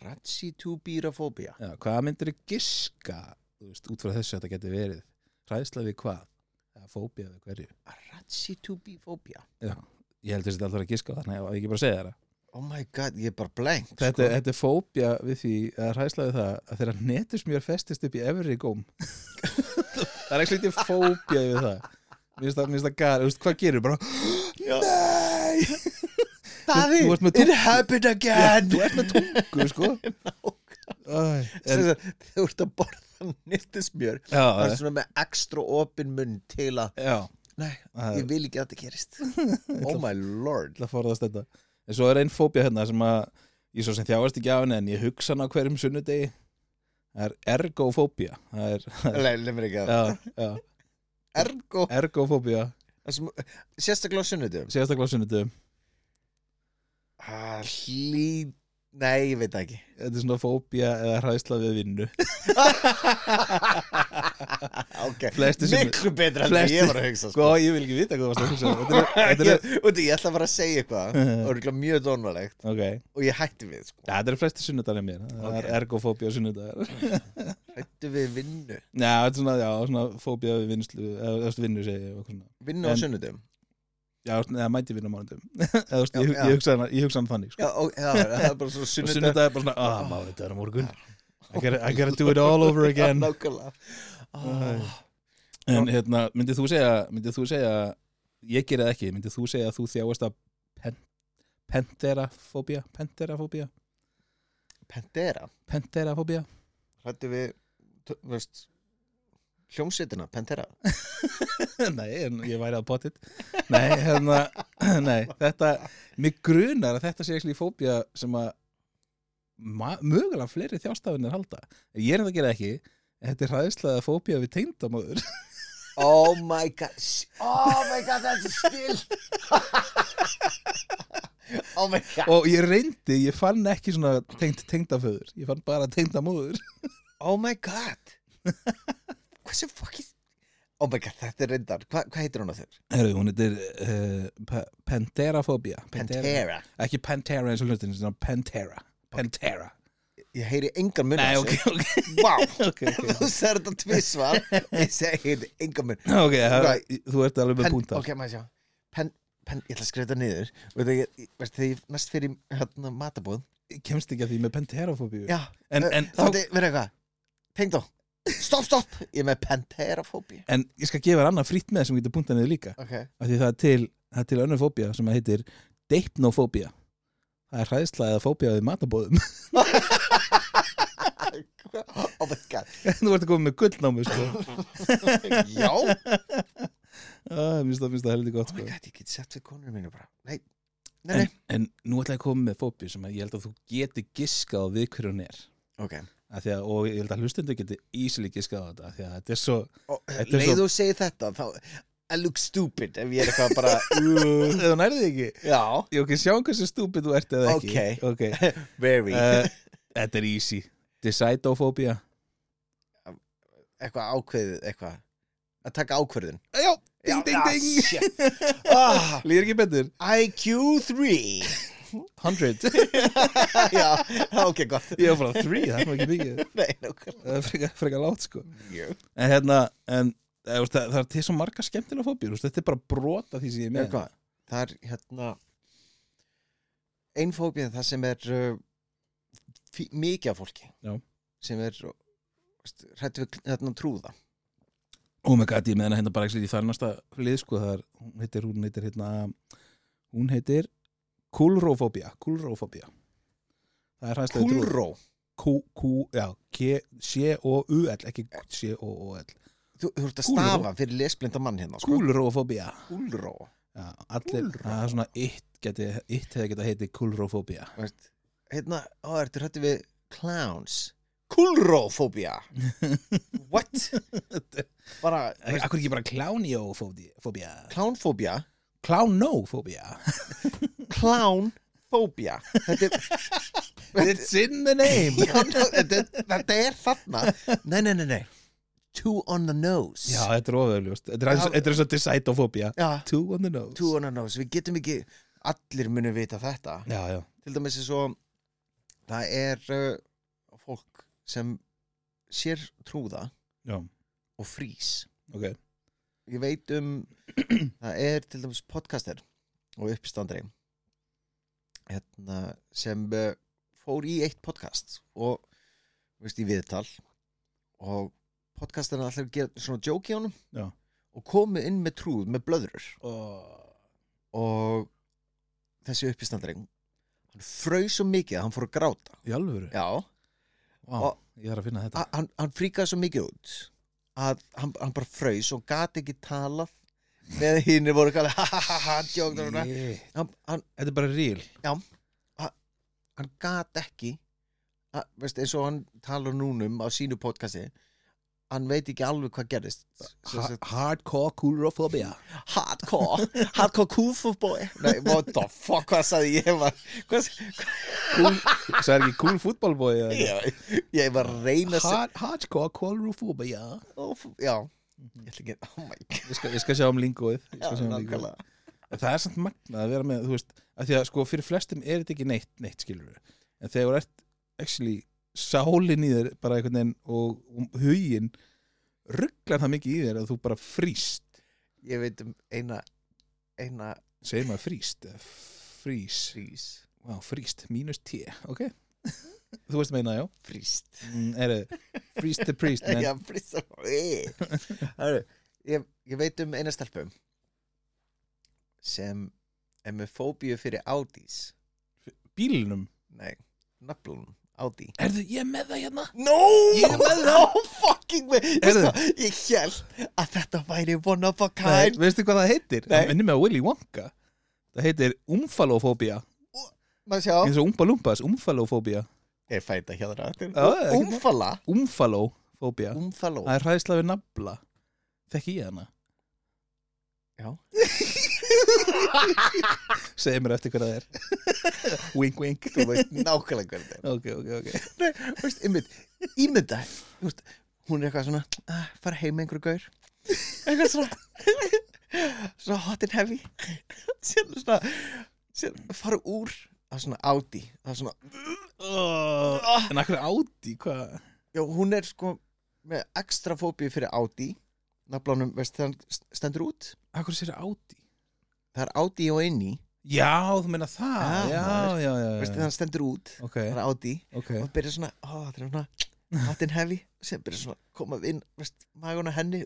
S2: Ratsitubírafóbía
S1: Já, hvað myndir þið giska þú veist, út frá þessu að þetta geti verið hræðsla við hvað? Eða fóbía við hverju?
S2: Ratsitubífóbía
S1: Já, ég heldur þetta alltaf að giska á það, þannig að ég ekki bara segja það
S2: Oh my god, ég er bara blank sko.
S1: þetta, þetta er fóbía við því að hræðsla við það að þeirra netusmjör festist upp í efri
S2: <laughs>
S1: góm það er ekki lítið fóbía við það Mér finnst það, mér finnst það gar, þú veist, hvað gerir bara,
S2: Nei
S1: Þú- þú ert með
S2: Daði, it
S1: tungu.
S2: happened again
S1: þú ert með tungu, sko Æ, en,
S2: Þess að Þú ert að borða nýttismjör Það er
S1: já, eh,
S2: svona með ekstra opin munn til að
S1: já,
S2: Nei,
S1: það
S2: ég vil ekki að þetta
S1: <laughs>
S2: gerist Oh my lord
S1: til að forðast þetta en svo er einn fóbía hérna sem að ég svo sem þjáast ekki af henni en ég hugsa hana á hverjum sunnudegi það er ergofóbía það er,
S2: Nei, lemur ekki að
S1: já, já,
S2: Ergo
S1: ergofóbía
S2: Það sem- Sérstaklega á sunnudum
S1: sérstaklega á sunnudegum
S2: Ah, Hlý Nei, ég veit það ekki
S1: þetta er svona fóbía eða hræðsla við vinnu
S2: okay.
S1: Flestir sem-
S2: Miklu betra en það
S1: Flestir-
S2: ég var að hugsa sko.
S1: <laughs> sko ég vil ekki vita hvað þú varst að hugsa um. þetta er,
S2: ég,
S1: <laughs> þetta er,
S2: úti, ég ætla bara að segja
S1: <laughs>
S2: eitthvað og er mjög dónvalegt
S1: ok
S2: og ég hætti við sko.
S1: Ja, þetta eru flesti sunnudagar mér það er
S2: Ok.
S1: ergofóbía <laughs> sunnudagar
S2: hætti við vinnu
S1: já, þetta er svona, já, svona fóbía við vinslu eða þú veist, vinnu segi ég og eitthvað svona.
S2: vinnu
S1: En-
S2: á sunnudum
S1: já, eða mæti vinnu <laughs> mánundum ég,
S2: Já, já.
S1: ég hugsa hana- ég hugsa hann þannig sko.
S2: já, og, já, það er bara svona
S1: og
S2: sunnudum
S1: sunnudag er bara svona, ah, má þetta er á morgun I gotta, I gotta do it all over
S2: <laughs>
S1: again
S2: nákvæmlega oh,
S1: <laughs> en hérna, myndið þú segja myndið þú segja, ég geri það ekki myndið þú segja að þú þjáast að pen, penterafóbía penterafóbía,
S2: Pantera
S1: penterafóbía
S2: hætti við t- veist, hljómsveitina,
S1: <laughs>
S2: Pantera
S1: nei, en ég væri að potið nei, hérna, <clears throat> nei, þetta mig grunar að þetta sé ekki fóbía sem að ma- mögulega fleiri þjástafinir halda ég er þetta að gera ekki, en þetta er hræðislega fóbía við tengdamóður
S2: Oh my god s- Oh my god, þetta er skil Oh my god
S1: og ég reyndi, ég fann ekki svona tengd tengdaföður, ég fann bara tengdamóður
S2: Oh my god Hversu fucking Oh my god, þetta er reyndar Hva, Hvað heitir hún á þau?
S1: Herru, hún heitir uh, Panterafóbía
S2: Pantera
S1: ekki Pantera eins og hlutin, svona Pantera Pantera
S2: Ég heyri engan mun á
S1: Nei,
S2: þessu.
S1: ok, ok,
S2: Vá
S1: <laughs> ok, ok
S2: Þú sér þetta tvisvar Ég segi engan mun
S1: Ok, það,
S2: Right.
S1: þú ert alveg með
S2: Pen-
S1: púnta
S2: Ok, maður sjá Pen, pen, ég ætla að skrifa þetta niður og þegar ég, ég- veist, þegar ég næst fyrir hérna, matabúð
S1: Ég kemst ekki að því með penterafóbíu
S2: já,
S1: En,
S2: eh,
S1: en,
S2: þá
S1: þá,
S2: ætti verið eitthvað tengdó, stopp, stopp ég er með penterafóbíu
S1: en ég skal gefa þér annað frýtt með sem getur púnta niður líka
S2: okay.
S1: af Því það er til, það er til önnur fóbía sem að heitir Deipnofóbía Það er hræðsla eða fóbía við <laughs> matabóðum
S2: oh my god
S1: Þú ert að koma með gullnámi sko.
S2: <laughs>
S1: <laughs>
S2: já, oh
S1: ah, Mér finnst það- mér finnst það heldur gott
S2: my
S1: sko.
S2: god, ég get sett við konur mínu bara nei,
S1: en,
S2: nei, nei
S1: en nú ætla ég að koma með fóbíu sem að ég held að þú geti giskað á við hverju hún er
S2: ok,
S1: Af því að, og ég held að hlustendur geti ísili giskað á þetta af því að þetta er svo
S2: <laughs> og eh,
S1: Þetta er
S2: leið
S1: svo-
S2: þú segir þetta þá, I look stupid ef ég er eitthvað bara
S1: eða hún er ekki
S2: já,
S1: Ég ok, sjáum hversu stúpid þú ert eða ekki
S2: Ok.
S1: okay.
S2: very
S1: Eh, Þetta er easy Decidofóbía
S2: eitthvað ákveðið, eitthvað að taka ákverðin
S1: Já, ding, ding, ding <laughs>
S2: ah,
S1: Lýðir ekki betur
S2: IQ3
S1: 100
S2: <laughs> já, ok, gott
S1: <laughs> Ég var bara 3, það er nú ekki mikið
S2: nei, nokkuð
S1: Það er Frekar freka látt sko En hérna, en eh, veist, það, það er til svo marga skemmtilega fóbjur veist, Þetta er bara brot af því sem ég er með
S2: Eitthvað. það er hérna ein fóbía það sem er uh, fí- mikið af fólki
S1: Já.
S2: sem er hrættu við hérna trúða
S1: Oh my god, ég með hennar hérna bara ekki í þannasta lið sko, það er, hún heitir, hún heitir hérna, hún heitir Kulrofóbía, kulrofóbía Það er hæslega
S2: Kúlró
S1: Q, Q, já, K, C-O-U-L ekki C-O-O-L
S2: þú, þú ert að
S1: Kúlró.
S2: stafa fyrir lesblinda mann hérna sko.
S1: Kulrofóbía
S2: Kúlró
S1: Já, allir,
S2: Kúlró.
S1: það er svona eitt, geti, eitt hefði geta heiti kulrofóbía
S2: Veist, hérna, ó, ertu hrættu við clowns
S1: <laughs>
S2: Kúlrófóbía what? bara, veist,
S1: Akkur ekki bara klánjófóbía
S2: clownfóbía
S1: Klánófóbía
S2: clownfóbía þetta er
S1: <laughs> It's in the name
S2: <laughs> Já, ná, þetta þetta er þarna Nei, nei, nei, nei Two on the nose
S1: Já, þetta er oföðljóst Þetta er eins-
S2: Já.
S1: þetta er eins og decidofóbía
S2: Já,
S1: Two on the nose
S2: two on the nose Við getum ekki, allir munum vita þetta
S1: Já, já,
S2: Til dæmis er svo Það er uh, fólk sem sér trúða
S1: já,
S2: og frýs
S1: ok
S2: Ég veit um <clears throat> Það er til dæmis podcaster og uppstandri hérna, sem uh, fór í eitt podcast og veist, í viðtal og podcastarinn alltaf að gera svona jóki á honum
S1: Já.
S2: og komið inn með trúð með blöðrur
S1: Og
S2: og þessi uppistandri hann fröy svo mikið að hann fór að gráta
S1: í alvöru
S2: Já,
S1: Vá,
S2: Og-
S1: Ég þarf að finna þetta
S2: a- hann, hann fríkaði svo mikið út að hann, hann bara fröys og gat ekki talað með hinn voru kalli ha ha ha ha djók, djók, djók.
S1: Shit.
S2: Hann, hann,
S1: Þetta er bara real
S2: hann gat ekki að, veist, eins og hann talar núnum á sínu podcasti hann veit ekki alveg hvað gerðist Sem
S1: Ha-
S2: sagt,
S1: Hardcore kulrofóbía
S2: hardcore, hardcore kúfuboy nei, what the fuck, hvað sagði ég Ég var, hvað,
S1: <laughs> Það er ekki cool fútbolbói
S2: ég, ég var að reyna að segja-
S1: Hardcore kulrofóbía
S2: já,
S1: Mhm.
S2: ég ætla ekki oh my god,
S1: Ég skal, ég skal sjá um lingóið Ég
S2: já,
S1: skal sjá um lingóið.
S2: nákvæmlega
S1: En Það er samt magnað að vera með þú veist, að Því að sko fyrir flestum er þetta ekki neitt neitt skilur En þegar þú ert actually sálin í þér bara einhvern veginn og, og hugin rugglar það mikið í þér að þú bara frýst
S2: ég veit um eina eina
S1: segir maður frýst eða frýs
S2: frís
S1: wow, frýst, mínus t, ok <laughs> þú veist meina, já
S2: fríst
S1: mm, er, frýst the priest man.
S2: já, frís ég, ég veit um eina stelpum sem er með fóbíu fyrir Audis
S1: bílnum
S2: Nei, naflunum Audi
S1: Erðu, ég er með það hérna
S2: No,
S1: Ég er með það.
S2: no fucking way
S1: Heyrðu.
S2: Veistu hvað, Ég held að þetta væri one of a
S1: Nei,
S2: kind
S1: Veistu hvað það heitir?
S2: Nei.
S1: Það minnir mig á Willy Wonka Það heitir umfalofóbía
S2: Maður sjá
S1: eins og umbalumpas, umfalofóbía
S2: Ég fæ þetta hjá þér
S1: Já, ekkert mál.
S2: Umfala
S1: Umfalofóbía
S2: Umfaló
S1: Það er hræðsla við nafla Þekki ég hana
S2: Já.
S1: <laughs> Segðu mér eftir hvað það er Wink, wink
S2: Þú veist nákvæmlega hvernig þetta er
S1: Ok, ok, ok
S2: Þú veist, einmitt, ímynda þú veist, hún er eitthvað svona ah, fara heim með einhverju gaur eitthvað svona svona <laughs> hot and heavy síðan svona síðan fara úr það er svona Audi það er svona oh.
S1: En akkur áti, hvað?
S2: já, hún er sko með ekstra fóbíu fyrir Audi nafnlánum, veist, þann stendur út
S1: Akkur sér áti?
S2: það er Audi og inni
S1: Já, þú meina það
S2: Já,
S1: Já,
S2: Ah, maður.
S1: já, já,
S2: veist,
S1: já.
S2: þann stendur út
S1: Ok,
S2: það er Audi
S1: ok <laughs>
S2: og það byrjar svona, ó, það er svona hot and heavy, sem byrjar svona að koma inn, veist, maguna henni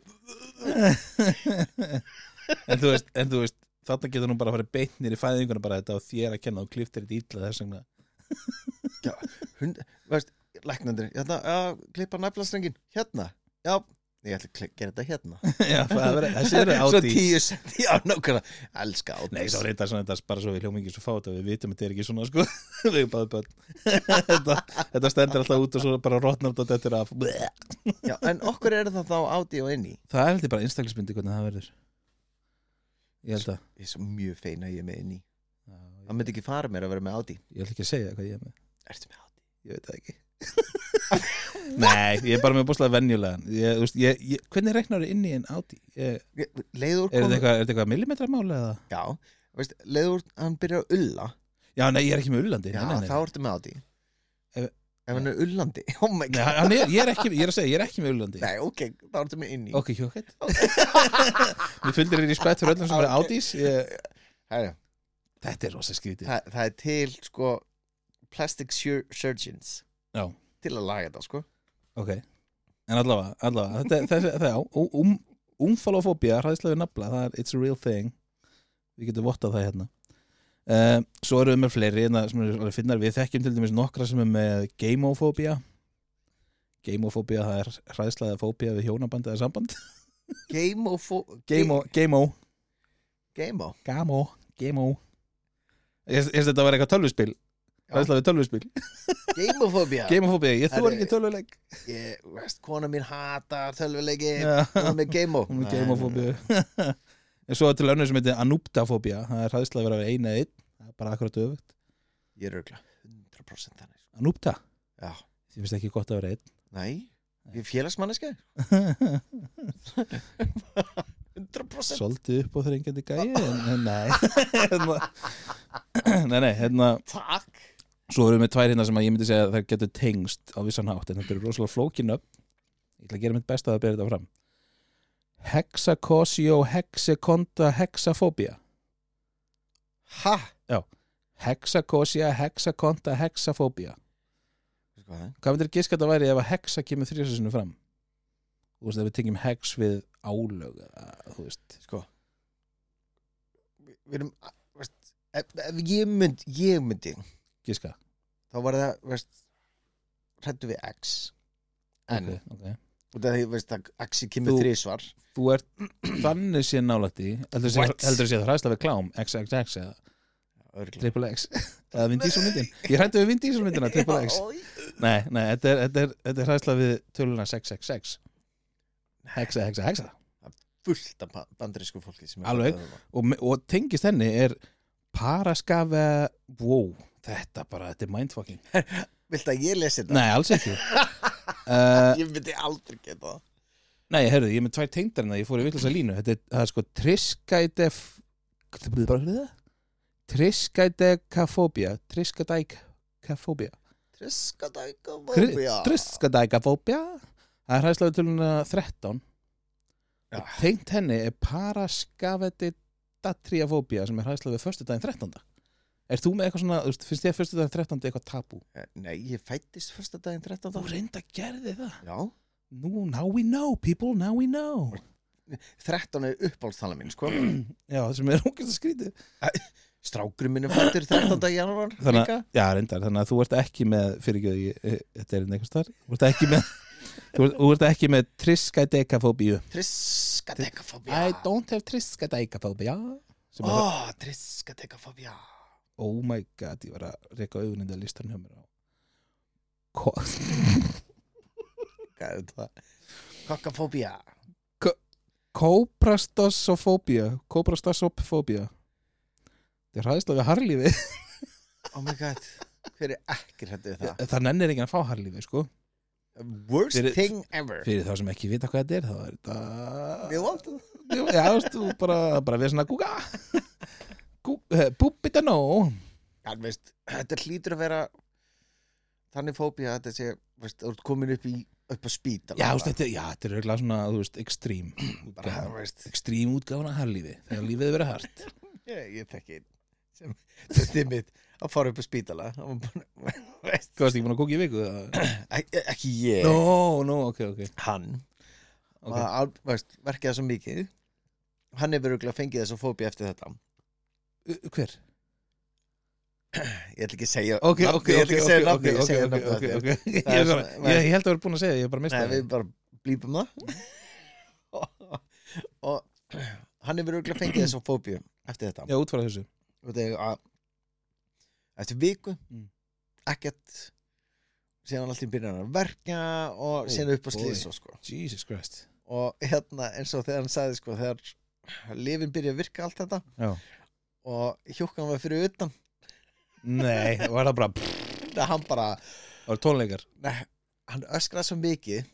S1: en, þú veist, en þú veist, þarna getur nú bara að fara beintnir í fæðinguna bara þetta og þér að kenna og kliftir þetta ítla þess vegna <laughs>
S2: hund, veist, læknandir hérna, já, klippa naflastrengin, hérna já, ég ætla að kli- gera þetta hérna
S1: <laughs> Já, það verður-
S2: <laughs>
S1: þessi eru
S2: svo
S1: áti
S2: tíu sent, já, nákvæmlega elska áti
S1: Nei, svo reyndar svona þetta bara svo við hljóma ekki svo fáta við vitum að þetta er ekki svona sko <laughs> við erum báðið bönn <laughs> þetta, þetta stendur alltaf út og svo bara rótnamt og þetta er af Bleh.
S2: já, en okkur er það þá áti og inni
S1: Það er heldur bara einstaklismyndi hvernig það verður Ég held að
S2: ég er svo mjög feina ég er með inni
S1: Já,
S2: það myndi ekki fara mér að vera með áti
S1: Ég ég ætla ekki að segja hvað ég er með
S2: ertu með áti?
S1: Ég veit það ekki Nei, ég er bara með búslega venjulegan ég, þú veist, ég, ég, Hvernig reiknar þau inn í en áti? Ég,
S2: Ég- leiður
S1: er þetta
S2: kom,
S1: eitthvað, er þetta eitthvað millimetramál eða?
S2: já, veist, leiður hann byrjar að ulla
S1: Já, nei, ég er ekki með ullandi
S2: já,
S1: nei, nei, nei.
S2: þá ertu með áti
S1: Ef-
S2: ef hann er ullandi, <laughs> oh my
S1: Nei,
S2: god
S1: hann er, ég, er ekki, ég er að segja, ég er ekki með ullandi
S2: nei, ok, þá ertu með inni
S1: Ok, hjókett <laughs> Mér fylgir þér í spætt fyrir öllum sem er
S2: Ok.
S1: átís ég,
S2: Herra,
S1: Þetta er rosa skrítið
S2: það, það er til sko plastic sur surgeons
S1: Já,
S2: til að laga þetta sko
S1: ok En allavega, allavega Þetta, þessi, það, já, um, umfalofóbía, hræðslega við nafla Það er, it's a real thing Við getum vottað það hérna um, Svo eru við með fleiri hérna sem eru alveg finnar Við þekkjum til dæmis nokkra sem er með gamofóbía Gamofóbía, það er hræðslega fóbía við hjónaband eða samband
S2: Game of
S1: <laughs> Gamo, gamo
S2: Game of
S1: Gamo, gamo Ég ég veist þetta var eitthvað tölvuspil
S2: Já.
S1: Hræðslega við tölvuspil
S2: Gameophobia
S1: Gamofóbía, ég þú
S2: Herri.
S1: ekki tölvuleik
S2: Ég, veist, kona mín hatar tölvuleiki
S1: Já.
S2: Hún er með Game of
S1: Hún er gamofóbíu eh, <laughs> En svo er til önnur sem heitir anúptafóbía Það er hræðslega að vera við eina eða einn Það er bara akkurat öfugt
S2: Ég er örgla 100% þannig sko.
S1: Anúpta,
S2: Já,
S1: þið finnst ekki gott að vera einn
S2: nei Ég er
S1: <laughs>
S2: félagsmanneska 100%
S1: Svolítið upp og þrengjandi gæi En en nei <laughs> Hérna- <clears throat> Nei, nei, hérna
S2: Takk
S1: Svo erum við með tvær hérna sem að ég myndi segja að það getur tengst á vissan hátt En þetta eru rosalega flókin upp Ég ætla að gera mitt besta að bera þetta fram Hexacosio hexaconta hexafóbía
S2: Ha
S1: Hexacosia hexaconta hexafóbía
S2: Veistu hvað það er?
S1: hvað myndir giska þetta væri ef að hexa kemur þrjóðsinsinu fram þú veist, ef við tengjum hex við álög eða, þú veist
S2: Sko Við við erum veist, ef, ef ég mynd Ég myndi
S1: giska
S2: Þá var það veist, Hrættu við X En
S1: Ok, ok.
S2: út af því veist að Axi kemur
S1: Þú-
S2: þrísvar
S1: þú ert <clears throat> þannig sé nálætti heldur sé,
S2: What?
S1: heldur sé það hræðsla við klám xxx eða
S2: Örgla
S1: triple x eða Vin
S2: <laughs>
S1: Diesel myndin ég hrættu við Vin Diesel myndina triple x nei, nei, þetta er, þetta er, þetta er hræðsla við töluna 666 hexa, hexa, hexa
S2: fullt af bandarísku fólki sem er
S1: Alveg.
S2: að-
S1: og, me- og tengist henni er paraskafa wow, þetta bara, þetta er mindfucking
S2: Viltu að ég lesi þetta?
S1: nei, alls
S2: <laughs>
S1: ekki uh,
S2: Ég myndi aldrei geta það
S1: Nei, heyrðu, ég er með tvær tengdarina, ég fór í villasa línu Þetta er, það er sko triskædef Það byrði bara fyrir það Triskædekafóbía Triskædekafóbía
S2: Triskadæka
S1: Triskædekafóbía Það er hræðslega við töluna 13
S2: Já.
S1: Og Tengt henni er paraskafeti datriafóbía sem er hræðslega við föstudaginn 13 Er þú með eitthvað svona, þú veist, finnst þér föstudaginn 13 eitthvað tabú?
S2: Eh, Nei, ég fættist fyrsta daginn 13.
S1: Þú reynda að gerði það
S2: Já,
S1: Nú, now we know, people, now we know <clears throat>
S2: 13 er uppáhaldstala mín, sko
S1: Já, það sem er ógæst að skrítið
S2: strákurinn minn er fættur 13. janúar
S1: Þannig
S2: líka
S1: Já, reyndar, þannig að þú ert ekki með fyrirgjöðu, þetta er hérna einhvers þar Þú ert ekki með <laughs> Þú ert, þú ert ekki með triskadekafóbíu
S2: Triskadekafobía
S1: don't have triskadekafóbía sem oh.
S2: Ó, triskadekafobía
S1: Að, oh my god, ég var að reyka auguninda listan hjá mér á Ko- <laughs>
S2: Hvað er þetta? Kokkafobía
S1: Kóprastasofóbía Kóprastasofóbía Þetta er hræðislega við harlífi
S2: Oh my god Hver er ekki hrættu við það?
S1: <laughs> Það nennir enginn að fá harlífi, sko
S2: Worst
S1: Fyrir-
S2: thing ever
S1: Fyrir þá sem ekki vita hvað þetta er, þá er þetta
S2: Við valdum
S1: Jú, Já, þú veist, þú bara, bara við svona gúga Gú, eh, Búbita nó
S2: Já, þú veist, þetta hlýtur að vera þannig fóbía að þetta sé, veist, þú ert komin upp í upp að spýta
S1: Já, þú veist, þetta, er- já, þetta er auðvitað svona, þú veist, ekstrím
S2: bara, þú veist,
S1: Ekstrím útgáfuna harlífi Þegar lífið hefur verið hart
S2: ég, ég tekki einn sem, þetta er mitt að fara upp að spýtala <laughs> veist,
S1: Hvað varst ekki búin að kúka í viku? <clears throat> eða?
S2: ek- ekki ég
S1: Nó, nó, ok, ok,
S2: hann,
S1: ok
S2: okay. að, veist, verkið það svo mikið hann hefur örugglega fengið þessa fóbíu eftir þetta
S1: Uh, Hver?
S2: ég ætla ekki að segja
S1: Ok,
S2: nafnið,
S1: ok, ok,
S2: ég ætla
S1: ok,
S2: ekki að segja
S1: ok,
S2: nafnið, ég
S1: ok,
S2: segja
S1: ok,
S2: nafnið
S1: ok,
S2: þetta.
S1: ok Ég
S2: Það er
S1: er bara-
S2: svona-
S1: ég- ég held að vera búin að segja, það, ég er bara
S2: Nei,
S1: mistað
S2: við bara blípum <laughs> það og hann hefur örugglega fengið þessa fóbíu eftir þetta
S1: Já, útfæra þessu
S2: og þegar að eftir viku
S1: Mm.
S2: ekkert síðan alltaf byrjar hann að verka
S1: Ó,
S2: og síðan upp
S1: Oh,
S2: á
S1: boy.
S2: slýs og sko
S1: Jesus Christ
S2: og hérna eins og þegar hann sagði sko þegar lifin byrja að virka allt þetta
S1: Já
S2: og hjúkkan var fyrir utan
S1: Nei, var það bara pff,
S2: þegar hann bara,
S1: Það var tónleikar
S2: nei, hann öskraði svo mikið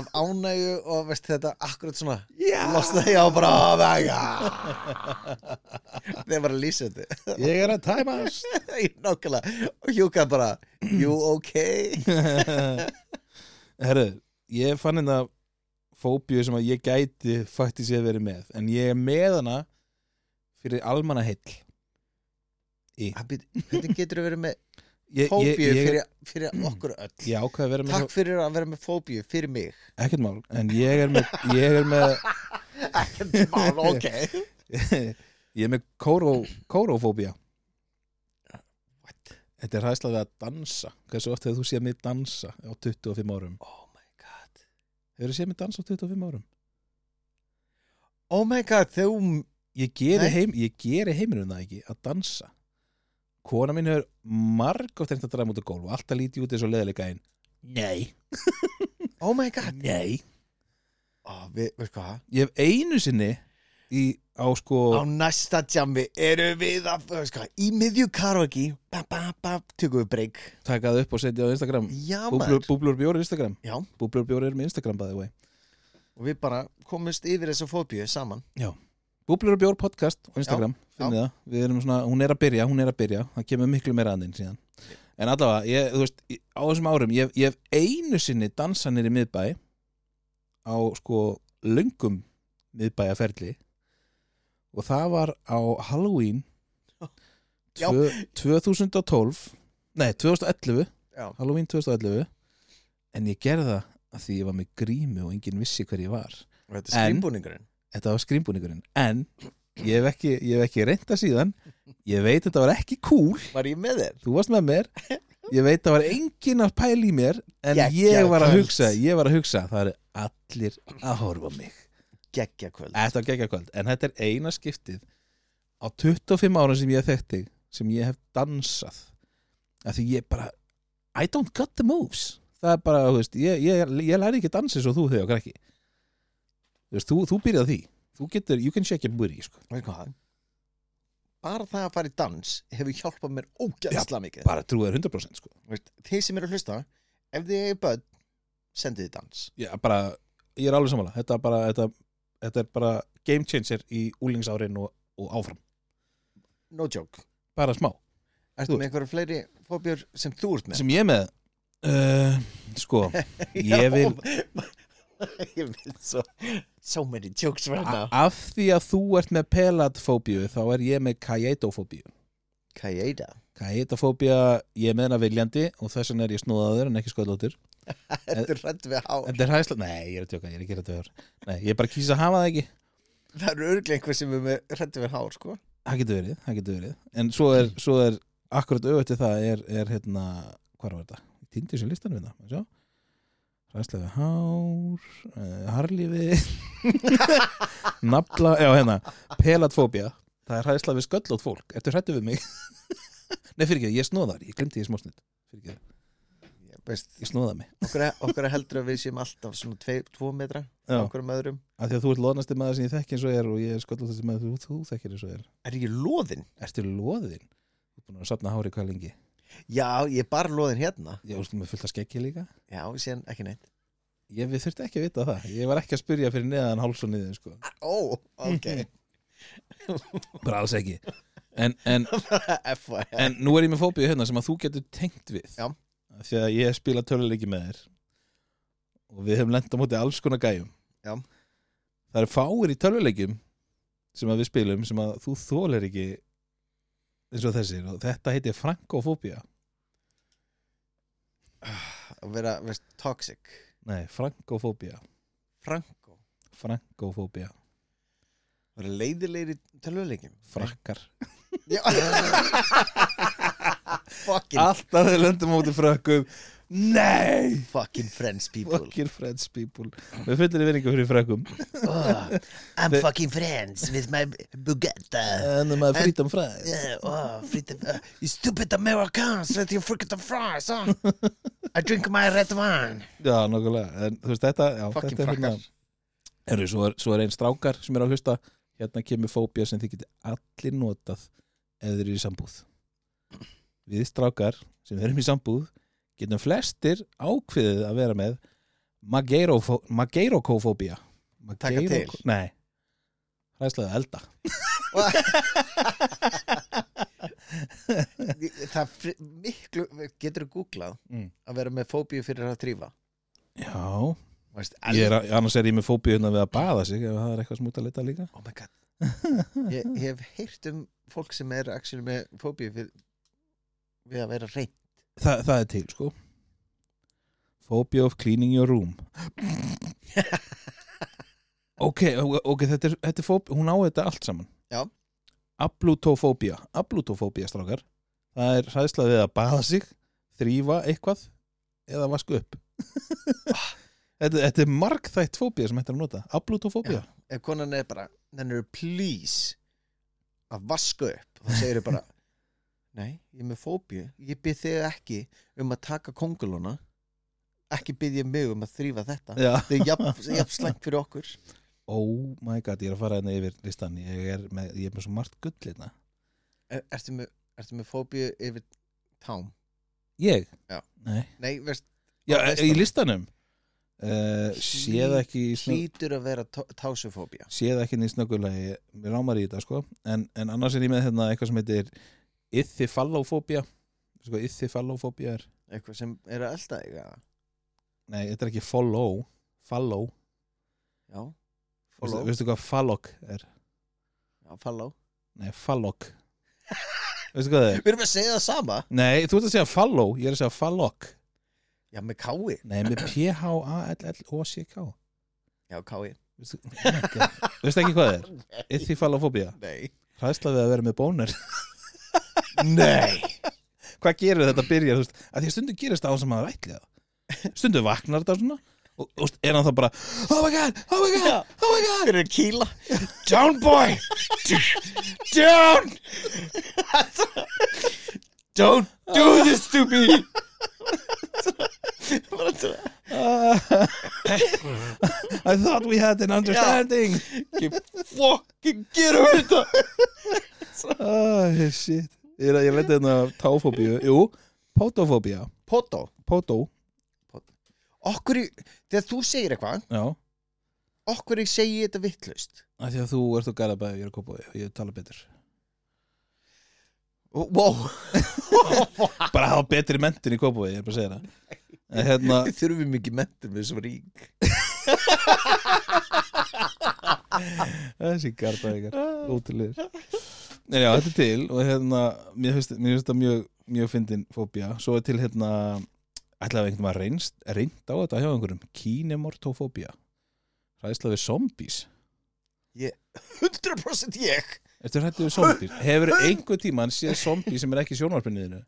S2: af ánægju og veist þetta akkurat svona
S1: Já
S2: losnaði ég á bara að vega þegar var að lýsa þetta <laughs>
S1: Ég er að tæmast
S2: Í nákvæmlega og hjúkkan bara you okay
S1: Herru, <laughs> ég fann hérna fóbíu sem að ég gæti faktis ég verið með en ég er með hana fyrir almanna heill
S2: Hvernig getur þú verið með
S1: ég,
S2: fóbíu
S1: ég, ég,
S2: fyrir, fyrir okkur öll
S1: Ég ákvað að vera með
S2: Takk fyrir að vera með fóbíu fyrir
S1: <laughs>
S2: mig
S1: svo- ekkert mál en ég er með ég er með,
S2: Mál, ok
S1: ég er með kóró, kórófóbía
S2: What?
S1: Þetta er hræðsla við að dansa Hversu oft hefur þú séð mig dansa á 25 árum?
S2: Oh my god
S1: Hefur þú séð mig dansa á 25 árum?
S2: Oh my god, þú
S1: ég geri,
S2: Nei.
S1: heim, ég geri heiminum það ekki að dansa kona mín hefur margótt eftir að draga mútu gólf og alltaf líti út eins og leðilega einn Nei,
S2: Oh my god
S1: nei
S2: oh, við, Veist hvað?
S1: Ég hef einu sinni í, á sko
S2: Á næsta jammi erum við að veist hvað, Í miðju karaoke ba, ba, ba, Tökum við break
S1: takað upp og setja á Instagram
S2: Já
S1: Búblur,
S2: maður
S1: búblur bjóri Instagram
S2: Já,
S1: Búblur bjóri er með Instagram by the way
S2: og við bara komumst yfir þessa fóbíu saman
S1: Búblur og bjór podcast og Instagram finnið það, við erum svona, hún er að byrja, hún er að byrja það kemur miklu meira aðeins síðan en allavega, ég, þú veist, ég- á þessum árum ég, ég hef einu sinni dansanir í miðbæ á sko löngum miðbæjaferli og það var á Halloween
S2: Já.
S1: tvö, 2012 nei, 2011
S2: Já.
S1: Halloween 2011 en ég gerði það að því ég var með grímu og enginn vissi hver ég var
S2: Og þetta er
S1: En-
S2: skrýmbúningurinn
S1: þetta var skrýmbúningurinn en ég hef ekki, ég hef ekki reynda síðan ég veit þetta var ekki cool
S2: Var ég með þér?
S1: þú varst með mér ég veit það var engin að pæla í mér en
S2: Geggjað
S1: ég var að
S2: kvöld.
S1: hugsa, ég var að hugsa það eru allir að horfa á mig
S2: Gekkja kvöld
S1: þetta var geggjakvöld, en þetta er eina skiptið á 25 ára sem ég hef þekkt þig sem ég hef dansað af því ég bara I don't got the moves það er bara, þú veist, ég, ég, ég læri ekki dansi svo þú þegar krakki þú veist, þú, þú byrjað því þú getur, you can shake your booty sko.
S2: Veist hvað? Bara það að fara í dans hefur hjálpað mér ógæðsla mikið
S1: bara trúið 100% sko.
S2: veist, þeir sem eru að hlusta ef þið er börn, sendið þið dans
S1: ég, bara, ég er alveg samanlega þetta, er bara, þetta, þetta er bara game changer í úlingsárin og, og áfram
S2: no joke,
S1: bara smá
S2: ertu
S1: Þú
S2: með einhverja fleiri fóbjör sem þú ert <laughs> með
S1: sem ég er með uh,
S2: <laughs>
S1: sko, ég vil
S2: ég vil svo so many jokes right
S1: A-
S2: now
S1: af því að þú ert með pelatfóbíu þá er ég með kajetofóbíu
S2: Kajeda
S1: kajetofóbía, ég er með hana viljandi og þess vegna er ég snúðaður en ekki skoðlótur
S2: ertu rætt við hár
S1: þetta er hæsla, nei, ég er að tjóka, ég er ekki að tjóka nei, ég bara kýsa að hafa það ekki
S2: það eru örglega einhver sem er rætt við hár sko
S1: það getur verið, það getur verið en svo er, svo er akkurat auðvætti það er, er hérna, hvað var þetta? Ég týndi sér listan við það, sjá Ræslega hár uh, Harlífi <laughs> Nafla, já hérna Pelatfóbía, það er hræðsla við sköllótt fólk Ertu hrættu við mig? <laughs> Nei fyrir ekki, ég snóðar, ég glemti ég smásnitt Fyrir ekki,
S2: Ég veist,
S1: ég snóða mig
S2: okkur, okkur heldur að við séum alltaf svona tve, tvo metra
S1: Já,
S2: okkur um öðrum
S1: af því að þú ert loðnasti maður sem ég þekki eins og er og ég er sköllóttasti maður sem þú, þú þekkir eins og er
S2: er ég loðin?
S1: Ertu loðin? Þú ert búin að safna hári hvað lengi?
S2: já, ég er bara loðin hérna
S1: Ég úrstum með fullt að skeggi líka
S2: já, síðan ekki neitt
S1: Ég við þurfti ekki að vita það Ég var ekki að spyrja fyrir neðan háls og niður sko.
S2: ó, ok
S1: <laughs> Bara alls ekki en, en,
S2: FYI
S1: en nú er ég með fóbíu hérna sem að þú getur tengt við
S2: Já.
S1: Af Því að ég spila töluleiki með þér Og við hefum lent á móti alls konar gæjum
S2: Já.
S1: Það eru fáir í töluleikum sem að við spilum sem að þú þólar ekki eins og þessir og þetta heitir frankofóbía
S2: að vera, veist, toxic
S1: Nei, frankofóbía
S2: franko
S1: Frankofóbía
S2: vera leiðilegir í tölvuleikim
S1: Frakkar
S2: já <laughs> fucking,
S1: Alltaf þeir löndum á móti frökkum Nei
S2: fucking friends
S1: <laughs>
S2: people
S1: Fucking French people Við fullir í veringu fyrir frækum
S2: oh, I'm
S1: Þe-
S2: fucking friends with my Bugatti
S1: En maður frýtum fræð
S2: Yeah, oh, freedom, uh, you stupid Americans with your freaking fries, huh? I drink my red wine.
S1: Já, nokkulega En þú veist þetta já,
S2: Fucking
S1: þetta er hérna-
S2: frakkar.
S1: Heyrðu, svo, er- svo er einn strákar sem er að hlusta Hérna kemur fóbía sem þið geti allir notað Eða þeir eru í sambúð Við strákar sem erum í sambúð Getum flestir ákveðið að vera með Mageirofó- Mageirokófóbía
S2: Taka til.
S1: Mageirokó- Nei Hræðslega elda
S2: Það er fri- miklu, getur þú googlað
S1: Mm.
S2: að vera með fóbíu fyrir að trífa?
S1: Já,
S2: Veist,
S1: ég er, annars er ég með fóbíu hérna við að baða sig ef það er eitthvað smúta lita líka
S2: Oh my god. Ég, ég hef heyrt um fólk sem er actually með fóbíu við, við að vera reynd.
S1: Þa, Það er til, sko Phobia of cleaning your <laughs> room Ok, ok, þetta er, þetta er fóbíu, hún á þetta allt saman
S2: Já.
S1: Ablutofóbía, ablutofóbía strákar Það er hræðsla við að baða sig þrýfa eitthvað eða vaska <laughs> upp þetta, þetta er margþætt fóbía sem hættir að nota Ablutofóbía
S2: Ef konan er bara, nennir please að vaska upp, þá segir þau bara, <laughs> nei, ég er með fóbíu, ég byrð þig ekki um að taka kongulona, ekki byrð ég mig um að þrýfa þetta.
S1: Já.
S2: Það er <laughs> jafn, jafn slæmt fyrir okkur.
S1: Oh my god, ég er að fara hérna yfir listan Ég er með, ég er með svo margt gull hérna
S2: Er, ertu, með, ertu með fóbíu yfir tám?
S1: Ég?
S2: Já.
S1: Nei
S2: Nei, veist,
S1: Já,
S2: Á
S1: í listanum uh, Séð ekki í snö-
S2: hlýtur að vera tó- tásufóbía.
S1: Séð ekki nýtt snöggulegi Mér rámar í þetta sko en, en annars er ég með hérna eitthvað sem heitir Ythifallofóbía sko, Ythifallofóbía er
S2: Eitthvað sem er að elda þig að
S1: Nei, þetta er ekki follow Follow
S2: Já,
S1: Veistu,
S2: follow,
S1: veistu hvað fallok er?
S2: já, follow
S1: Nei, fallok Veistu hvað það er?
S2: Við erum að segja það sama
S1: Nei, þú ert að segja follow Ég er að segja fallok
S2: Já, með kái
S1: Nei, með P-H-A-L-L-O-C-K
S2: Já, kái
S1: Veistu <laughs> oh my god. Veistu ekki hvað það er? Ythifallofóbía
S2: Nei
S1: Hræðsla við að vera með bónur
S2: <laughs> Nei
S1: Hvað gerir þetta byrjar, þú veist að Því að stundum gerist það á sem maður ætli það Stundum vaknar þetta svona Og, og veist, er hann þá bara Oh my god, oh my
S2: <laughs>
S1: god, oh my god
S2: Hver er kýla? Down boy Down Don't do this to me Bara svona
S1: I thought we had an understanding
S2: Fucking gerum við þetta
S1: Ah, shit Ég, er- ég leti hérna táfóbíu Jú, pótofóbía
S2: Potó
S1: Pótó,
S2: Okkur í Þegar þú segir eitthvað
S1: já
S2: Okkur í segi ég þetta vittlaust
S1: að Því að þú ert þú garðabæði, ég er að kópa og ég tala betur
S2: Wow
S1: Bara hafa betri menntun í kópa ég er bara að segja það En hérna,
S2: Við <laughs> þurfum ekki mentum við sem rík
S1: þessi garðabæðingar ótrúleir Nei, já, þetta er til og hérna, mér finnst mér finnst það mjög, mjög fyndin fóbía svo er til hérna, ætlaði einhvern veginn reynst, reynd á þetta hjá einhverjum kínemortofóbía ræðsla við zombies
S2: 100% ég
S1: Ertu hrættu við zombir? Hefur einhver tíma hann séð zombi sem er ekki í sjónvarpinniðinu?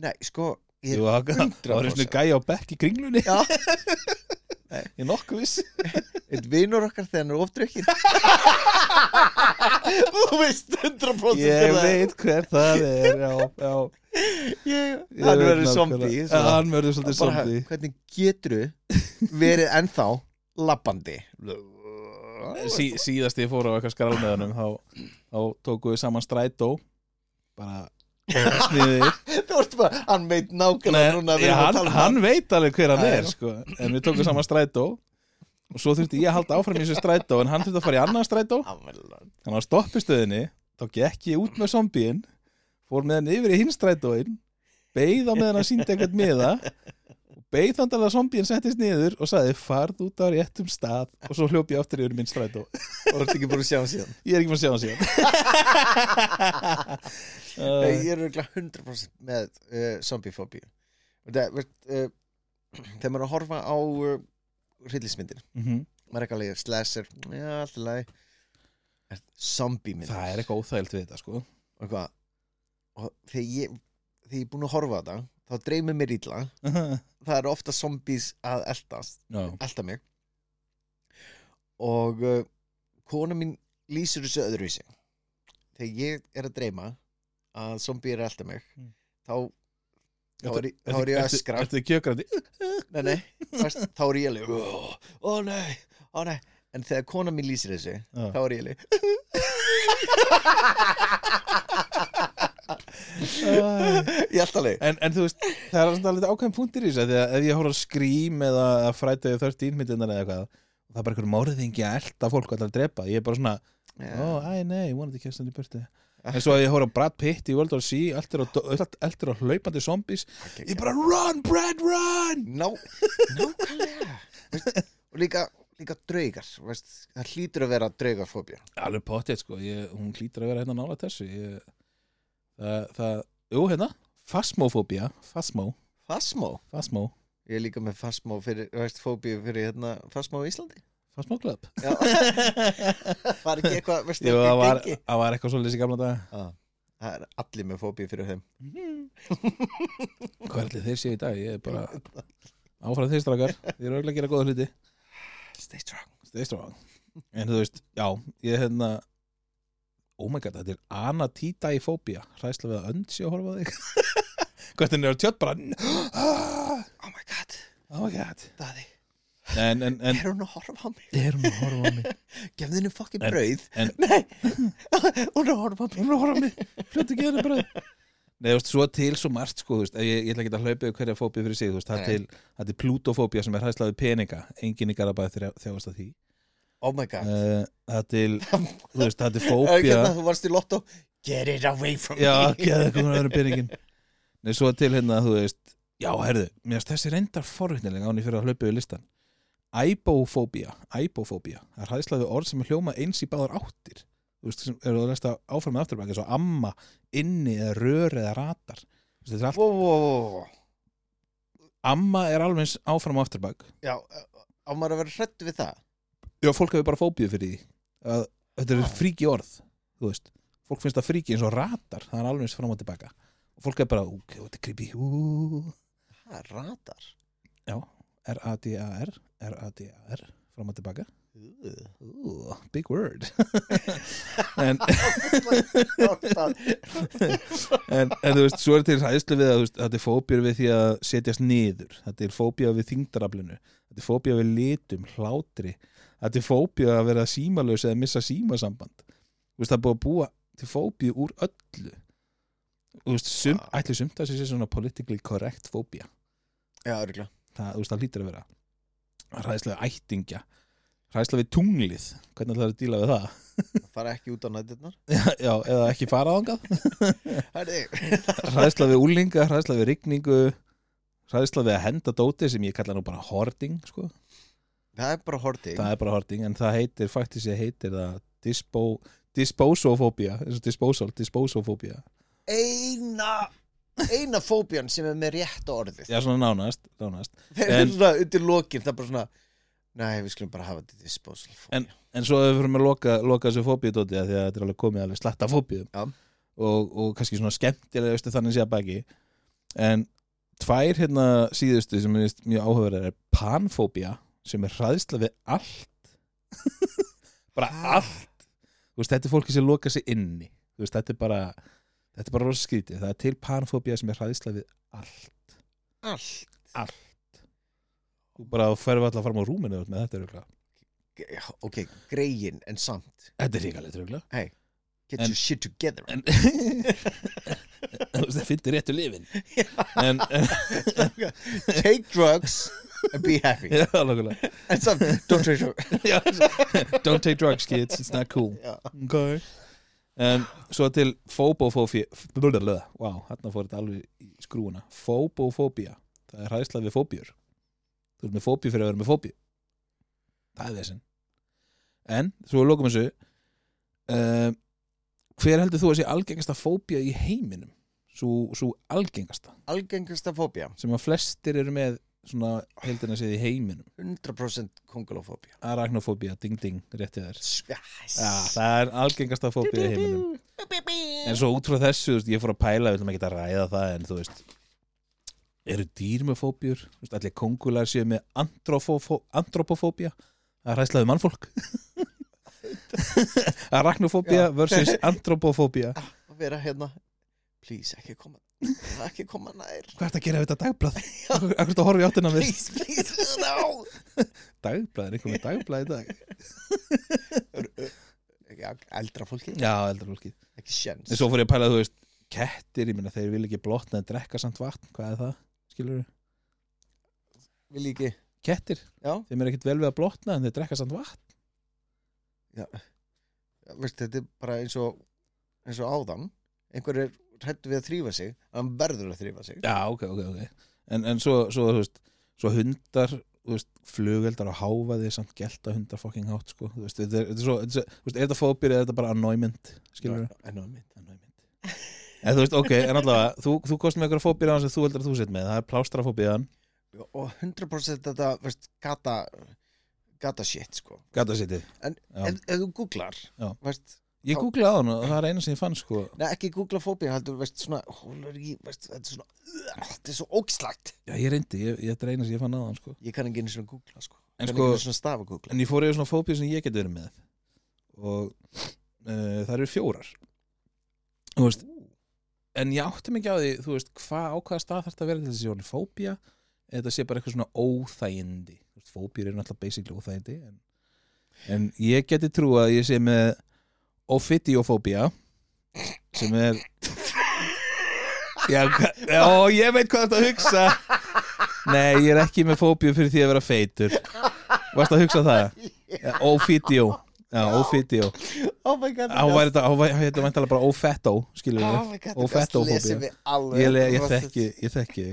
S2: Nei, sko Ég-
S1: Jú, það það var einu
S2: 100%.
S1: gæja á bekk í kringlunni
S2: Já.
S1: Ég nokkuð viss
S2: Eitt vinur okkar þegar hann er <laughs> ofdrykkin
S3: Þú veist 100%
S1: Ég
S3: hver það er.
S1: veit hver það er Já, já Ég
S2: Hann
S1: veit
S2: verður
S1: nákvæmlega.
S2: zombi
S1: Já, Hann verður svolítið
S2: bara,
S1: zombi
S2: Hvernig getur verið ennþá labbandi
S1: sí, Síðast ég fór á eitthvað skrálmeðanum þá, þá tóku við saman strætó bara sniðið
S2: <laughs> Þú veist bara, hann veit nákvæmlega núna að
S1: ég,
S2: við erum að
S1: hann,
S2: tala um
S1: hann veit alveg hver hann
S2: Já, já.
S1: er sko. en við tókum saman strætó og svo þurfti ég að halda áfram í þessu strætó en hann þurfti að fara í annan strætó
S2: hann var langt.
S1: þannig að stoppistöðinni þá gekk ég út með zombíin fór með hann yfir í hinn strætóin beigð á meðan hann síndi eitthvað miða og beigð þannig að zombíin settist niður og sagði farð út á réttum stað og svo hljóp ég aftur yfir í minn strætó
S2: og þú ert ekki búin að sjá hann síðan
S1: ég er ekki fann að sjá hann
S2: <laughs>
S1: síðan
S2: Nei,
S1: uh,
S2: ég er örugglega 100% með uh, zombiefóbíu það, veist, uh, þegar maður er að horfa á uh, hryllismyndir
S1: mhm.
S2: maður er ekki alveg slasher já, alltaf lagi Er zombiemyndir
S1: það er eitthvað óþægilt við þetta sko
S2: og, eitthvað. og þegar ég þegar ég er búin að horfa á þetta þá dreymir mér illa það eru ofta zombies að eldast
S1: no.
S2: elda mig og uh, kona mín lýsir þessu öðruvísi þegar ég er að dreyma að zombie er að elda mig
S1: Mm.
S2: þá þá er, ég- þá er ég að öskra
S1: Ertu
S2: <laughs>
S1: kjökrandi?
S2: nei, nei, fast, þá er ég alveg ó, ó nei, ó nei en þegar kona mín lýsir þessu
S1: Já.
S2: þá er ég alveg <laughs> ég held alveg
S1: En, en þú veist, það er svona alveg ákveðin punktir í þessu af því að ef ég horf á skrím eða frætaði þörst ínmyndunar eða eitthvað það er bara einhver morðingi að elta fólk alltaf að drepa ég er bara svona, ó,
S2: Já.
S1: æ, nei, vonandi kemst hann í burtu en svo að ég horf á Brad Pitt í World War C allt er á, allt, allt er á hlaupandi zombies ég bara, run, Brad, run
S2: Ná, nákvæmlega veist, og líka, líka draugar veist, það hlýtur að vera draugarfóbía
S1: alveg potið, sko, ég, hún hlýtur að vera hérna nála þessu ég, það, það, jú, hérna fasmofóbía, fasmó,
S2: Fasmó,
S1: fasmó
S2: ég er líka með fasmó fyrir, veist, fóbíu fyrir hérna fasmó í Íslandi
S1: fasmó klub <laughs>
S2: Já. var ekki eitthvað, veist,
S1: Jú,
S2: ekki
S1: það var,
S2: gengi
S1: það var eitthvað svolítið í gamla daga
S2: Já, það er allir með fóbíu fyrir þeim
S1: Hvað er allir þeir séu í dag? Ég er bara áfram þeir strákar Þeir eru örugglega að gera góða hluti
S2: stay strong
S1: Stay strong En þú veist, já, ég hérna Oh my god, þetta er anatita í fóbía Hræsla við að önd sé að horfa á þig Hvað þetta er tjött bara Ah,
S2: oh my god,
S1: <gasps> Oh my god
S2: daði,
S1: En, en, en
S2: er hún að horfa á mig
S1: Er hún að horfa á mig?
S2: gefðu henni fokkin
S1: En-
S2: brauð
S1: en-
S2: <laughs> nei, hún er að horfa á mig
S1: Hún er að horfa á mig Fljóttu ekki henni bara Nei, þú veist, svo til svo margt, sko, þú veist, ef ég, ég ætla ekki að hlaupa yfir hverja fóbíu fyrir sig, þú veist, það er
S2: Nei.
S1: til, það er til plútofóbía sem er hræðslaði peninga, enginn í garabæði þjáast að því.
S2: oh my god
S1: Eh, það er <laughs> til þú veist, það er til
S2: Eh,
S1: fóbía
S2: hérna, þú varst í lotto get it away from
S1: já,
S2: me
S1: geða eitthvað að vera peningin Nei, svo til hérna, þú veist já, herðu, mér finnst þessi reyndar forvittnilega án í fyrir að hlaupa við listan æbófóbía, æbófóbía það er hræðslaði orð sem hljóma eins í báðar áttir þú veist, sem eru að lesta áfram með afturbæk eins og amma, inni eða rör eða ratar, þú veist, þetta er allt
S2: Vó, vó, vó, vó.
S1: amma er alveg eins áfram og afturbæk
S2: já, eh, á maður að vera hrættu við það
S1: já, fólk hefur bara fóbíu fyrir því að, þetta
S2: Ha.
S1: er fríki orð þú veist, fólk finnst það fríki eins og ratar það er alveg eins fram og tilbaka og fólk er bara, ok, þetta er creepy ú,
S2: það er ratar
S1: já, R-A-D-A-R R-A-D-A-R, fram og tilbaka
S2: Ugh. <laughs>
S1: ú, big word en, en, en þú veist, svo er til hæðslu við að þú veist, þetta er fóbíur við því að setjast niður þetta er fóbíu við þingdaraflinu þetta er fóbíu við litum, hlátri þetta er fóbíu að vera símalaus eða missa símasamband þú veist, það er búið að búa til fóbíu úr öllu þú veist, sum,
S2: Vá.
S1: ætli sumt að þessi svona politically correct fóbía
S2: já, örgulega
S1: það, þú veist, það lítur að vera hræðslega ættingja hræðslega við tunglið, hvernig ætlar að díla við það <laughs>
S2: það fara ekki út á nættirnar
S1: já, eða ekki fara þangað
S2: Herði, <laughs>
S1: hræðslega við úlinga, hræðslega við rigningu hræðslega við að henda dóti sem ég kalla nú bara hoarding sko.
S2: það er bara horting
S1: það er bara hoarding, en það heitir faktisk ég heitir það dispo, disposofóbía eins og disposal, disposofóbía
S2: eina eina fóbían sem er með rétt orðið
S1: já, svona nánast, nánast.
S2: þeir
S1: En-
S2: eru svona undir lokin það er bara svona Nei, við skulum bara hafa þetta í disposal fóbíu.
S1: en svo við fyrir að loka, loka þessu fóbíu dóti því að þetta er alveg komið alveg slatta fóbíum
S2: Já.
S1: og, og kannski svona skemmtilega veistu, þannig sé að baki en tvær hérna síðustu sem er mjög áhugaverðar er panfóbía sem er hræðsla við allt <laughs> bara
S2: Ha?
S1: allt Þú veist, þetta er fólki sem loka sig inni Þú veist, þetta er bara þetta er bara rosa skrítið, það er til panfóbía sem er hræðsla við allt
S2: Allt
S1: þú bara ferðu alltaf fram á rúminu með þetta er
S2: Ge- Ok, greiðin en samt
S1: Þetta er ríkalegt röglega
S2: Get
S1: En-
S2: your shit together
S1: en <laughs> þú veist það finnir réttu lifin en, en
S2: Take drugs and be
S1: <laughs>
S2: happy
S1: <laughs> já, nákvæmlega.
S2: En samt, don't take drugs
S1: Já, don't take drugs kids, it's not cool
S2: Já.
S1: okay. en svo til fóbofófía wow, hérna fór þetta alveg í skrúuna fóbofóbía, það er hræðsla við fóbjur þú ert með fóbjú fyrir að vera með fóbjú það er þessin en, svo við lokum þessu uh, hver heldur þú að sé algengasta fóbía í heiminum svo, svo algengasta
S2: Algengasta fóbía
S1: sem að flestir eru með svona heldina séð í heiminum
S2: 100% kongolofóbía
S1: arachnofóbía, ding ding, rétti þér
S2: Yes
S1: ja, það er algengasta fóbía í heiminum en svo út frá þessu, þú veist, ég fór að pæla við ætlum ekki að ræða það, en þú veist eru dýr með fóbjur Þú veist, allir kongular séu með androfófó- andropofóbía að hræslaði mannfólk <laughs> arachnofóbía
S2: Já.
S1: versus andropofóbía
S2: Að vera hérna Please, ekki koma Ekki koma nær
S1: hvað ertu að gera við þetta dagblad? akkur ertu að horfa í áttina með
S2: Please, please, no
S1: dagblad, er einhvern veginn dagblad í dag
S2: Já, Eldra fólki,
S1: já, eldur fólki
S2: ekki sjens
S1: En svo fór ég að pæla, þú veist, kettir, ég minna, þeir vil ekki blotna en drekka samt vatn, hvað er það, skilur við?
S2: Vil ég ekki
S1: Kettir,
S2: Já,
S1: þeim er ekkert vel við að blotna en þeir drekka samt vatn.
S2: Já, veist, þetta er bara eins og eins og áðan einhver er hrættu við að þrýfa sig hann verður að þrýfa sig
S1: Já, ok, ok, ok. En, en svo, svo, þú veist, svo hundar, þú veist, flugeldar á háfaði samt gelta hundar fucking hátt, sko, þú veist, þetta er, þetta er svo, þetta er, svo- þú veist, er þetta fóbir eða er þetta bara annoyment, skilur við?
S2: en á mynd
S1: Annoyment. En þú veist, ok, en allavega, þú, þú kost með eitthvað fóbir á hans sem þú heldur að þú sett með, það er plástrafóbiðan,
S2: og 100% þetta veist, gata gata shit sko
S1: gatasitið.
S2: en
S1: Já.
S2: ef, ef þú googlar
S1: Já.
S2: veist,
S1: Ég googlaði á hann og það er eina sem ég fann, sko.
S2: neð, ekki googla fóbía heldur veist, svona, hólur í, veist, þetta er svona uh, þetta er svo ógslagt
S1: Já, ég reyndi, ég, ég, þetta er eina sem ég fann á hann, sko.
S2: ég kann ekki einu svona googla sko
S1: En
S2: kann
S1: sko-
S2: ekki einu svona stafa googla
S1: en ég fór yfir svona fóbíu sem ég geti verið með og uh, það eru fjórar þú veist en ég átti mikið á því, þú veist, hvað á hvaða stað þarf þetta að vera til þessi orðin fóbía eða þetta sé bara eitthvað svona óþægindi Þú veist, fóbíur eru náttúrulega basically óþægindi en, en ég geti trú að ég sé með offidiofóbía sem er já, hva- já, ég veit hvað þetta að hugsa nei, ég er ekki með fóbíu fyrir því að vera feitur varst að hugsa það? Já, Ófídjó Já, ófídjó
S2: oh my god
S1: Hann var þetta, hann var- hann heitir væntanlega bara ófettó Skilur
S2: oh
S1: við
S2: my god
S1: og
S2: þetta
S1: fettofóbía.
S2: lesum við alveg
S1: Ég, le- ég þekki, ég þekki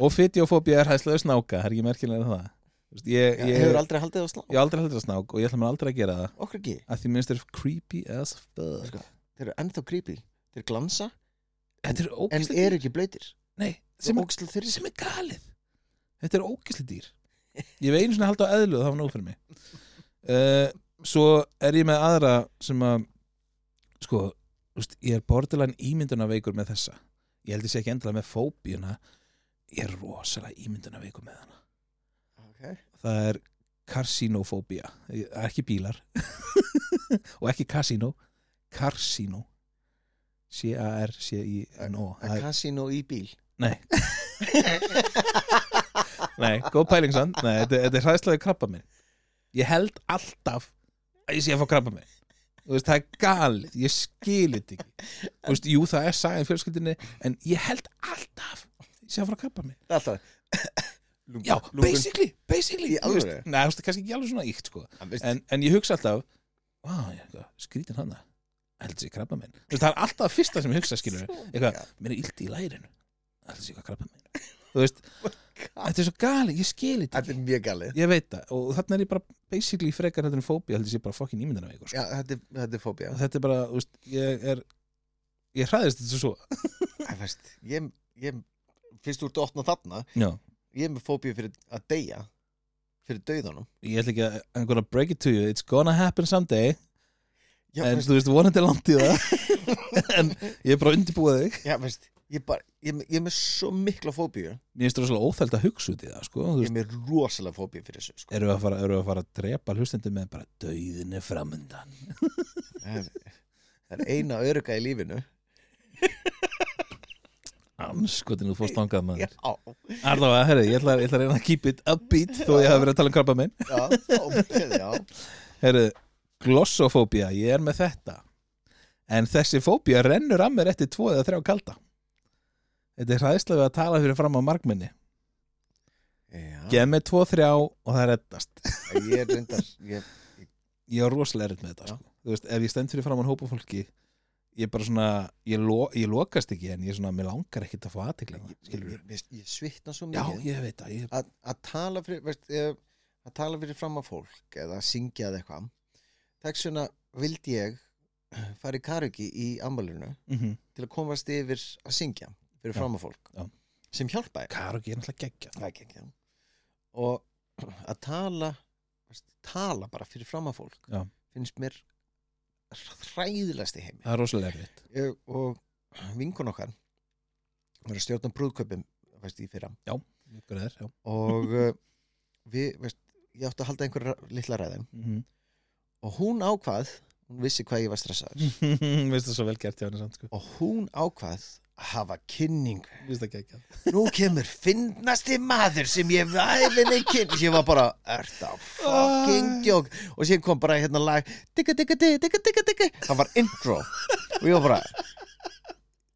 S1: Ófídjófóbía er hæslega snáka Það er ekki merkilega það Þú veist, Ég,
S2: ég
S1: ég,
S2: hefur aldrei haldið á slá
S1: ég hef aldrei heldur að snák og ég ætla mér aldrei að gera það
S2: okkur ekki
S1: að því minnst er creepy as fuck
S2: Sko, þeir eru ennþá creepy þeir glansa
S1: Þetta er
S2: en
S1: ógæslega
S2: eru ekki blöytir
S1: Nei, sem,
S2: sem
S1: er-
S2: ógstlega þeirri
S1: sem er galið Þetta er ógæslega dýr Ég hef einu sinni haldið á eðlu og það var nóg fyrir mig uh, Svo er ég með aðra sem að sko, þú veist, ég er borderline ímyndunaveikur með þessa ég held ég sé ekki endilega með fóbíuna ég er rosalega ímyndunaveikur með hana
S2: okay.
S1: það er karsinofóbía það er ekki bílar <laughs> og ekki kasino karsino C-A-R-C-I-N-O
S2: að kasino í bíl
S1: Nei Nei, góð pæling sann Nei, þetta, þetta er hræðslega krabba minn Ég held alltaf að ég sé að fá krabba minn Þú veist, það er galið, ég skil þetta ekki Þú veist, jú, það er sagan í fjölskyldinni En ég held alltaf að ég sé að fá krabba minn
S2: alltaf <laughs>
S1: Já, basically, basically
S2: Í
S1: þú veist.
S2: alvöru?
S1: Nei, þú veist, það er kannski ekki alveg svona íkt, sko
S2: basically
S1: en, en ég hugsa alltaf Vá, ég eitthvað, skrítin hana Held sér krabba minn Þú veist, það er alltaf fyrsta sem ég hugsa, skilur Eitthvað, mér er illt í lærinu Held sér hvað krabba minn Þú
S2: <laughs>
S1: veist, þetta er svo gali, ég skil þetta
S2: Oh þetta
S1: ekki
S2: er mjög galið
S1: Ég veit það, og þarna er ég bara basically frekar þetta en fóbía, heldur ég sé bara fokkin ímyndina veikur sko.
S2: Já, þetta, er, þetta er fóbía
S1: og þetta er bara, þú veist, ég er ég hræðist þetta svo
S2: Æ, veist, ég, ég, fyrst úr þetta opna þarna
S1: Já,
S2: ég er með fóbíu fyrir að deyja fyrir dauðanum
S1: ég ætla ekki að I'm gonna break it to you, it's gonna happen someday
S2: já,
S1: en
S2: veist,
S1: þú veist, vonandi er langt í það <laughs> en ég er bara að undirbúa þig
S2: já, veist, ég, bara, ég, ég er með svo mikla fóbíu
S1: mér finnst rosalega ófælt að hugsa út í það sko, þú
S2: ég
S1: veist,
S2: er með rosalega fóbíu fyrir þessu sko.
S1: eru að fara, eru að fara að drepa hlustandi með bara dauðinni framundan
S2: það er- það er eina öruga í lífinu
S1: anskotin þú fórst langað
S2: já,
S1: maður
S2: já,
S1: allavega, herri, ég ætla, ég ætla að reyna að keep it upbeat þó ég hafi verið að tala um krabba minn
S2: já, já.
S1: herri, glossofóbía, ég er með þetta en þessi fóbía rennur að mér eftir tvo eða þrjá kalda þetta er hræðslega við að tala fyrir fram á markminni
S2: já.
S1: gef mér tvo, þrjá og það reddast <laughs>
S2: ég er reyndar ég,
S1: ég er rosalega erfitt með þetta
S2: Já.
S1: sko. þú veist, ef ég stend fyrir framann hópa fólki ég bara svona, ég, lo, ég lokast ekki en ég svona, mér langar ekkit að fá aðtekla
S2: ég, ég,
S1: skilur
S2: ég, ég svitna svo
S1: já,
S2: mikið
S1: ég veit það ég,
S2: að að tala fyrir veist, eh, að tala fyrir fram að fólk eða að syngja eða eitthvað þess vegna vildi ég fara í karuki í ammalinu
S1: mm -hmm.
S2: til að komast yfir að syngja fyrir
S1: Já,
S2: fram að fólk
S1: já.
S2: sem hjálpaði
S1: karogi er náttúrulega geggja
S2: Það er ekki, já. og að tala veist, tala bara fyrir fram að fólk
S1: Já.
S2: finnst mér hræðilegast í heimi
S1: það er rosalega erfitt
S2: ég, og vinkun okkar var að stjórna brúðkaupum veist, í fyrra
S1: Liggur þér, já.
S2: og <laughs> uh, við, veist, ég átti að halda einhverja litla ræðum
S1: <laughs> Mhm.
S2: og hún ákvað, hún vissi hvað ég var
S1: Mm.
S2: stressaður
S1: veist það svo vel gert hjá henni samt sko.
S2: og hún ákvað að hafa kynningu
S1: veist það geggja
S2: nú kemur fyndnasti maður sem ég væfinni kynningu ég var bara, ert á
S1: Æ.
S2: fucking djók og síðan kom bara hérna lag digga digga digga digga digga digga það var intro og ég var bara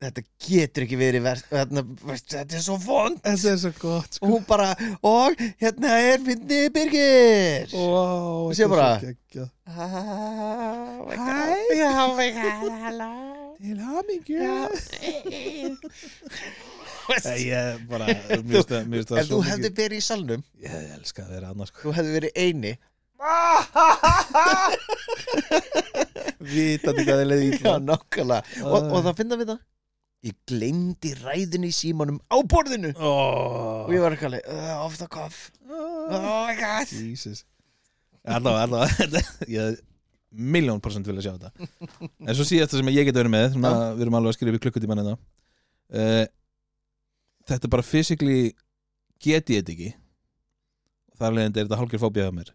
S2: þetta getur ekki verið verst, hérna, veist, þetta er svo vond
S1: þetta er svo gott sko.
S2: og hún bara, og hérna er fyndni Birgir
S1: wow,
S2: Og sé bara-
S1: geggjað.
S2: Oh
S1: Hi.
S2: my god. Yeah, oh my god, hello.
S1: til hamingju
S2: Veist,
S1: ég <laughs> bara, mér finnst það- mér finnst það
S2: Ef
S1: svo
S2: þú
S1: mikið-
S2: hefði verið í salnum,
S1: ég elska að vera sko. annars
S2: þú hefði verið eini
S1: vitandi hvað þið leiði <laughs>
S2: Já, nokkala
S1: Æ.
S2: og, og það finna við það Ég gleymdi ræðinu í símanum á borðinu
S1: oh.
S2: Og ég var ekki alveg, uh, off the cuff Oh my god
S1: Jesus Allavega, allavega Ég miljón prosent vilja sjá þetta En svo síðasta sem ég get verið með svona, Við erum alveg að skrifa í klukkutíman þetta uh, Þetta bara physically get ég þetta ekki Þar leðandi er þetta hálfgjör fóbía á mér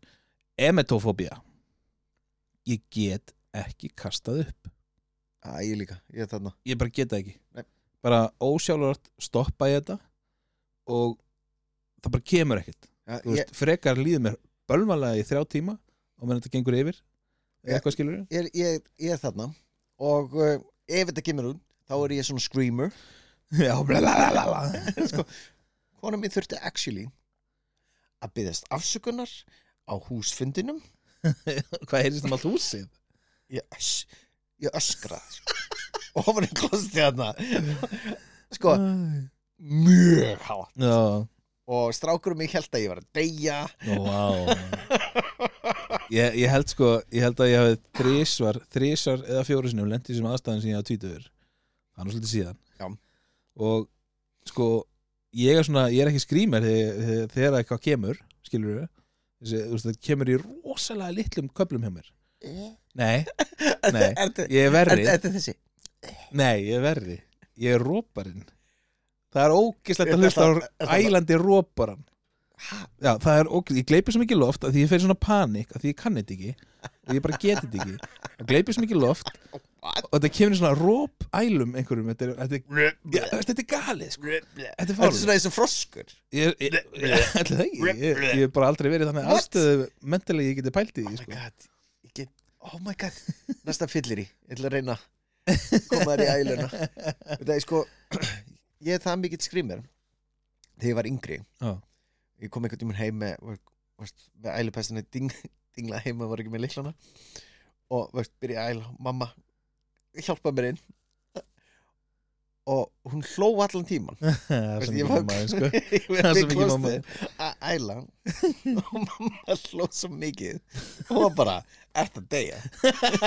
S1: Emetofóbía Ég get ekki kastað upp
S2: Æ, ég líka, ég er þarna
S1: Ég bara get það ekki
S2: Nei.
S1: Bara ósjálfurart stoppa ég þetta Og það bara kemur ekkert
S2: Já,
S1: þú
S2: ég,
S1: veist, frekar líður mér bölvalega í þrjá tíma og meðan þetta gengur yfir
S2: Já.
S1: eitthvað skilur
S2: <laughs> ég, er- ég, ég er þarna Og uh, ef þetta kemur út, þá er ég svona screamer
S1: já, blalalala
S2: sko, konan mín þurfti actually að byggðast afsökunar á húsfundinum
S1: hvað heyrðist um allt húsið
S2: ég, ös, ég öskraði sko. ofan í klostið þarna sko, mjög hátt
S1: já,
S2: og strákurum mig held að ég var að deyja
S1: Ó, vá ég, ég held sko ég held að ég hafi þrísvar þrísvar eða fjóru sinni og lendi sem aðstæðan sem ég hafa tvítuður hann er svolítið síðan
S2: Já.
S1: og sko ég er svona, ég er ekki skrýmer þegar, þegar- þegar eitthvað kemur skilur þessi, þú veist, það kemur í rosalega litlum köflum hjá mér nei, nei,
S2: er þetta
S1: ég er verri
S2: er þetta þessi
S1: Nei, ég er verri Ég er róparinn Það er ógislegt að
S2: Er
S1: hlusta
S2: þetta- er
S1: á
S2: þetta-
S1: ælandi róparan
S2: Ha?
S1: Já, það er ógislegt Ég gleypi svo mikið loft að því ég fer í svona panik að því ég kann þetta ekki og ég bara geti þetta ekki Ég gleypi svo mikið loft
S2: What?
S1: og þetta kemur í svona róp ælum einhverjum Þetta er, þetta er, já, þú veist, þetta er galið sko.
S2: þetta
S1: Þetta er
S2: er
S1: fárið
S2: svona eins og froskur
S1: ég, ég, ég, <laughs> ætli það ekki. ég, ég hef bara aldrei verið í þannig
S2: What?
S1: aðstöðu mentalegi ég geti pælt í því, <laughs>
S2: oh my
S1: sko.
S2: god, ég get, oh my god næsta fyllir í, ég ætla að reyna að koma þér í
S1: <laughs>
S2: æluna þetta er sko <clears throat> ég er það mikill skrýmur þegar ég var yngri
S1: Já.
S2: ég kom einhvern tímann heim með, var- varst, með ælupestinni ding, dingla heima var ekki með liklana og varst, byrja að æla mamma, hjálpa mér inn og hún hló allan tíman
S1: Það er
S2: Veist,
S1: svo mikið
S2: ég var-
S1: mamma, sko.
S2: <laughs> ég
S1: Það er
S2: var
S1: svo
S2: við
S1: mikið mamma.
S2: klostið að æla og mamma hló svo mikið og var bara, ert að deyja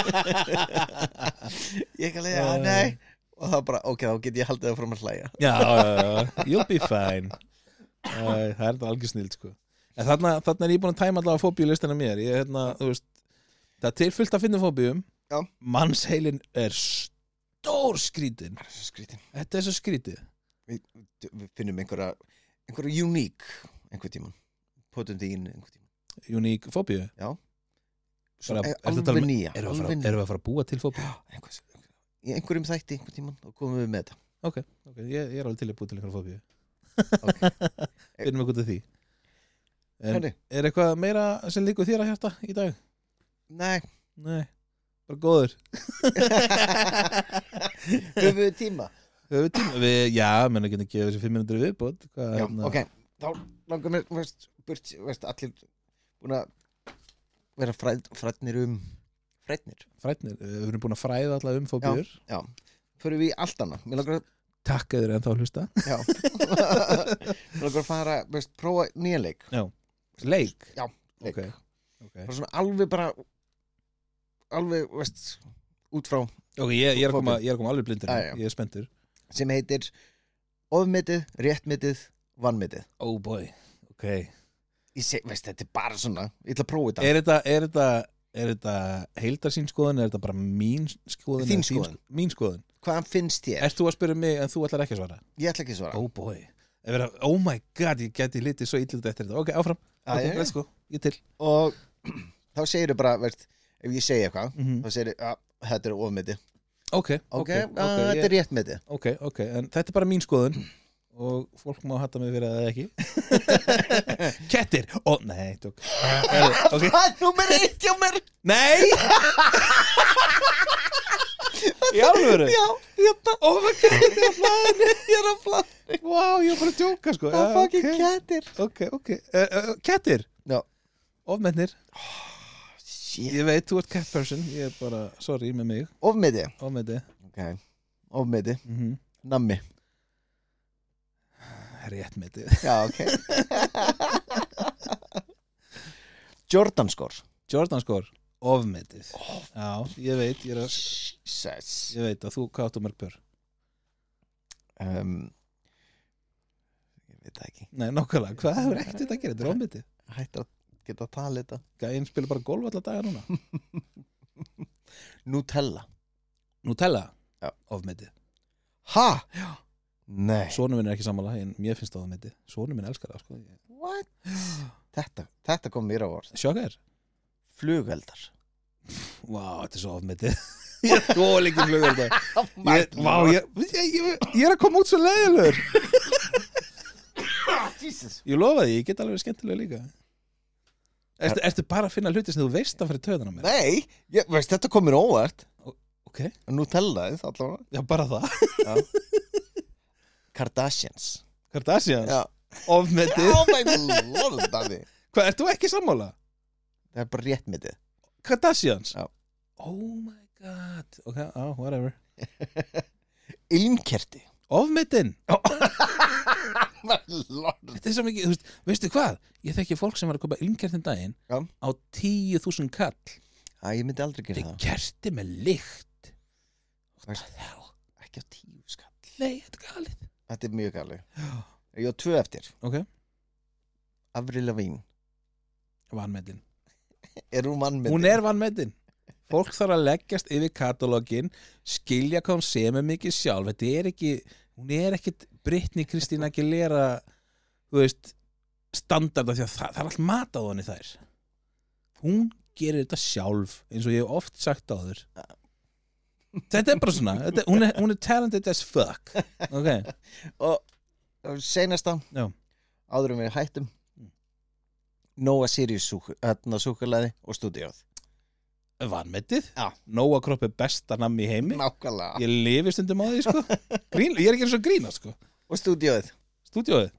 S2: <laughs> ég ekki alveg,
S1: Æ.
S2: að nei og það var bara, ok, þá get ég haldið það frá mér hlæja
S1: já, já, já, you'll be fine Æ, Það er þetta algjör snild sko en þarna, þarna er ég búin að tæma allavega fóbíu listina mér ég, hérna, þú veist, það er tilfyllt að finna fóbíum
S2: Já.
S1: mannsheilin er stór skrítin
S2: Skrítin
S1: þetta er svo skrítið
S2: Við, við finnum einhverja, einhverja uník einhver tíman Potum því inn einhver tíman
S1: uník fóbíu
S2: Svo,
S1: Bara-
S2: eh,
S1: ertu að tala um-
S2: Alveg nýja
S1: erum við, að
S2: alveg
S1: fara,
S2: nýja.
S1: erum við að fara að búa til fóbíu
S2: Já, einhvers- Í einhverjum þætti einhver tíman og komum við með þetta
S1: ok, ég, ég er alveg til að búa til einhverja fóbíu
S2: Ok.
S1: <laughs> finnum við gútið því en
S2: Herri,
S1: er eitthvað meira sem líkur þér að hérta í dag? <laughs>
S2: Nei,
S1: nei, bara góður
S2: <laughs> höfum við tíma
S1: Höfum við tíma? Við, já, menn ekki að gefa þessi 5 minútur viðbót hvað,
S2: Já,
S1: hérna-
S2: ok, þá langar mér veist, burt, veist, allir búin að vera fræð, fræðnir um fræðnir,
S1: frætnir, eh, við erum búin að fræða alla um fóbíur
S2: förum við í allt annað mér langar að,
S1: takk eða ennþá að hlusta
S2: já mér langar að fara, veist, prófa nýja leik
S1: leik,
S2: já, leik,
S1: Ok, ok,
S2: bara svona alveg bara alveg, veist, út frá
S1: okay ég, ég, er að koma,
S2: Fóbíu.
S1: ég er að koma alveg blindur
S2: Já,
S1: hérna.
S2: já.
S1: ég er spenntur
S2: sem heitir ofmetið, réttmetið, vannmetið
S1: oh boy, ok
S2: ég seg, veist, þetta er bara svona ég ætla að prófa þetta
S1: er þetta, er þetta, er þetta heildarsín skoðun, er þetta bara mín skoðun
S2: Þín
S1: eða
S2: skoðun.
S1: sk- mín skoðun,
S2: hvaðan finnst ég?
S1: ert þú að spyrja mig en þú ætlar ekki að svara
S2: ég ætla ekki að svara
S1: oh boy, Ef vera, oh my god ég geti litið svo illið eftir þetta, ok, áfram
S2: Æ,
S1: ok,
S2: já, já.
S1: let's go, ég til
S2: og <clears throat> þá segir þau bara veist, ef ég segi eitthvað
S1: Mhm.
S2: þá segir þau að "Ah, þetta er ofmeti
S1: ok,
S2: ok,
S1: ok,
S2: að,
S1: ég-
S2: þetta er <laughs> réttmeti
S1: ok, ok, en þetta er bara mín skoðun og fólk má hatta mig fyrir það eða ekki kettir, ó, nei tók. Eh, ok,
S2: það er nummer <laughs> eitt hjá mér
S1: nei í alvöru
S2: já, hérna,
S1: oh my god,
S2: <laughs> ég er að hérna. flata
S1: wow, ég var bara að djóka sko
S2: og
S1: Já,
S2: fucking
S1: ok,
S2: kettir
S1: ok, ok, Eh, eh, kettir
S2: Já.
S1: ofmennir,
S2: shit,
S1: ég veit, þú ert cat person ég er bara, sorry með mig,
S2: ofmeti
S1: ofmenni
S2: ok, ofmeti,
S1: mm -hmm.
S2: nammi
S1: réttmeti
S2: já, ok <laughs> Jordan skor
S1: Jordan skor, ofmetið já, ég veit, ég, er að,
S2: Jesus
S1: ég veit að þú hvað áttu mörg pör
S2: um, ég veit það ekki
S1: Nei, nokkulega, hvað hefur ekkert þetta að gera? Þetta er ofmetið.
S2: hættu að geta að tala þetta
S1: Gæinn spilur bara golf alla daga núna.
S2: Nutella
S1: Nutella,
S2: Já.
S1: ofmetið.
S2: ha? nei
S1: Sónu minn er ekki sammála, en mér finnst það ofmetið. Sónu minn elskar það, sko.
S2: What? Þetta, þetta kom mér á orð
S1: Sjokka þér?
S2: Flugeldar
S1: Vá, þetta er svo ofmetið. <laughs> ég þól ekki flugur þetta. Ég, vá, ég, ég, ég, ég er að koma út svo leiðilegur.
S2: Jesus
S1: Ég lofa því, ég get alveg skemmtilega líka. Ertu, ertu bara að finna hluti sem þú veist að fyrir töðan á mér?
S2: Nei, ég, veist, þetta kom mér á óvart
S1: Ok,
S2: Nutellaðið allavega
S1: já, bara það.
S2: Kardashians
S1: Kardashians,
S2: Já
S1: ofmetið.
S2: Oh my lord, Davi
S1: Hvað, ert þú ekki sammála?
S2: Það er bara réttmyndið
S1: Kardashians?
S2: Já.
S1: Oh my god, ok, oh, whatever.
S2: Ilmkerti
S1: Ofmetinn?
S2: Oh my lord
S1: Þetta er svo mikið, þú veist, veistu hvað? Ég þekki fólk sem var að kaupa ilmkertin daginn
S2: Já.
S1: á 10.000 kall.
S2: Æ, ég myndi aldrei gera
S1: Þetta er kerti með lykt.
S2: Veist-
S1: hell?
S2: það Ekki á tíu skall
S1: Nei, þetta er galið.
S2: Þetta er mjög gali Ég á tvö eftir
S1: Ok.
S2: Avril Lavín
S1: Vanmetinn.
S2: Er hún mannmyndið?
S1: Hún er vanmetinn. Fólk þarf að leggjast yfir katalógin, skilja hvað hún semur mikið sjálf. Þetta er ekki, hún er ekkit Brittany Kristín ekki lera, þú veist, standarda því að það, það er allt matað hann í þær. Hún gerir þetta sjálf, eins og ég hef oft sagt á þur. Þetta er bara svona, þetta, hún, er, hún er talented as fuck. Ok,
S2: og og seinasta
S1: Já. Mm.
S2: áður en við hættum Nóa Sirius súkulæði og stúdíóð
S1: vanmetið.
S2: Já.
S1: Nóa kropp er besta nammi í heimi.
S2: nákvæmlega
S1: Ég lifi stundum á því, sko. Grín, ég er ekki eins og grína, sko.
S2: og stúdíóð
S1: Stúdíóið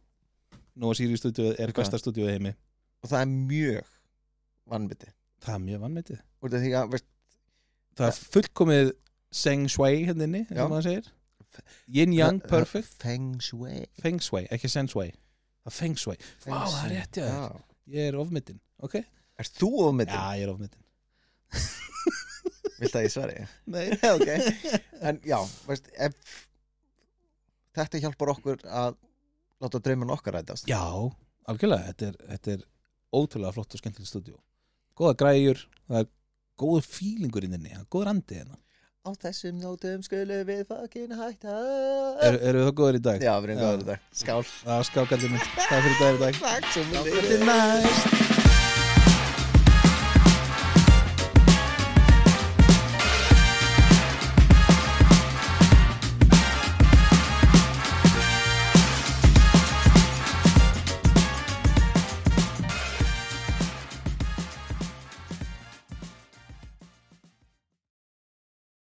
S1: Nóa Sirius stúdíóið er
S2: Ok.
S1: besta stúdíóið í heimi
S2: og það er mjög vannbytti
S1: Það er mjög vannmetið
S2: út af því að veist,
S1: Það er fullkomið Seng Shui henninni, eins
S2: Já.
S1: og maður segir Yin Yang
S2: það-
S1: Perfect
S2: Feng Shui
S1: Feng Shui, ekki Sen Shui Það er Feng Shui Vá,
S2: Feng
S1: það er
S2: Shui.
S1: rétt, já Ég er ofmyndin, ok?
S2: er þú ofmyndin?
S1: Já, ég er ofmyndin
S2: vilt að
S1: <laughs>
S2: ég svari?
S1: Nei
S2: ok en já, veist ef, þetta hjálpar okkur að láta drauman okkar rætast
S1: Já, algjörlega, þetta er, þetta er ótrúlega flott og skemmtilegt stúdíu góða græjur, það er góður fílingur inn inni, það er góður andi hérna
S2: Á þessum nótum skulum við fucking hætta
S1: eru, eru það góður í dag?
S2: Já, við
S1: Eh.
S2: erum
S1: Já.
S2: góður í dag Skál
S1: Það er skákallið minn, það er fyrir dag í dag
S2: Takk sem við
S1: Þetta er næst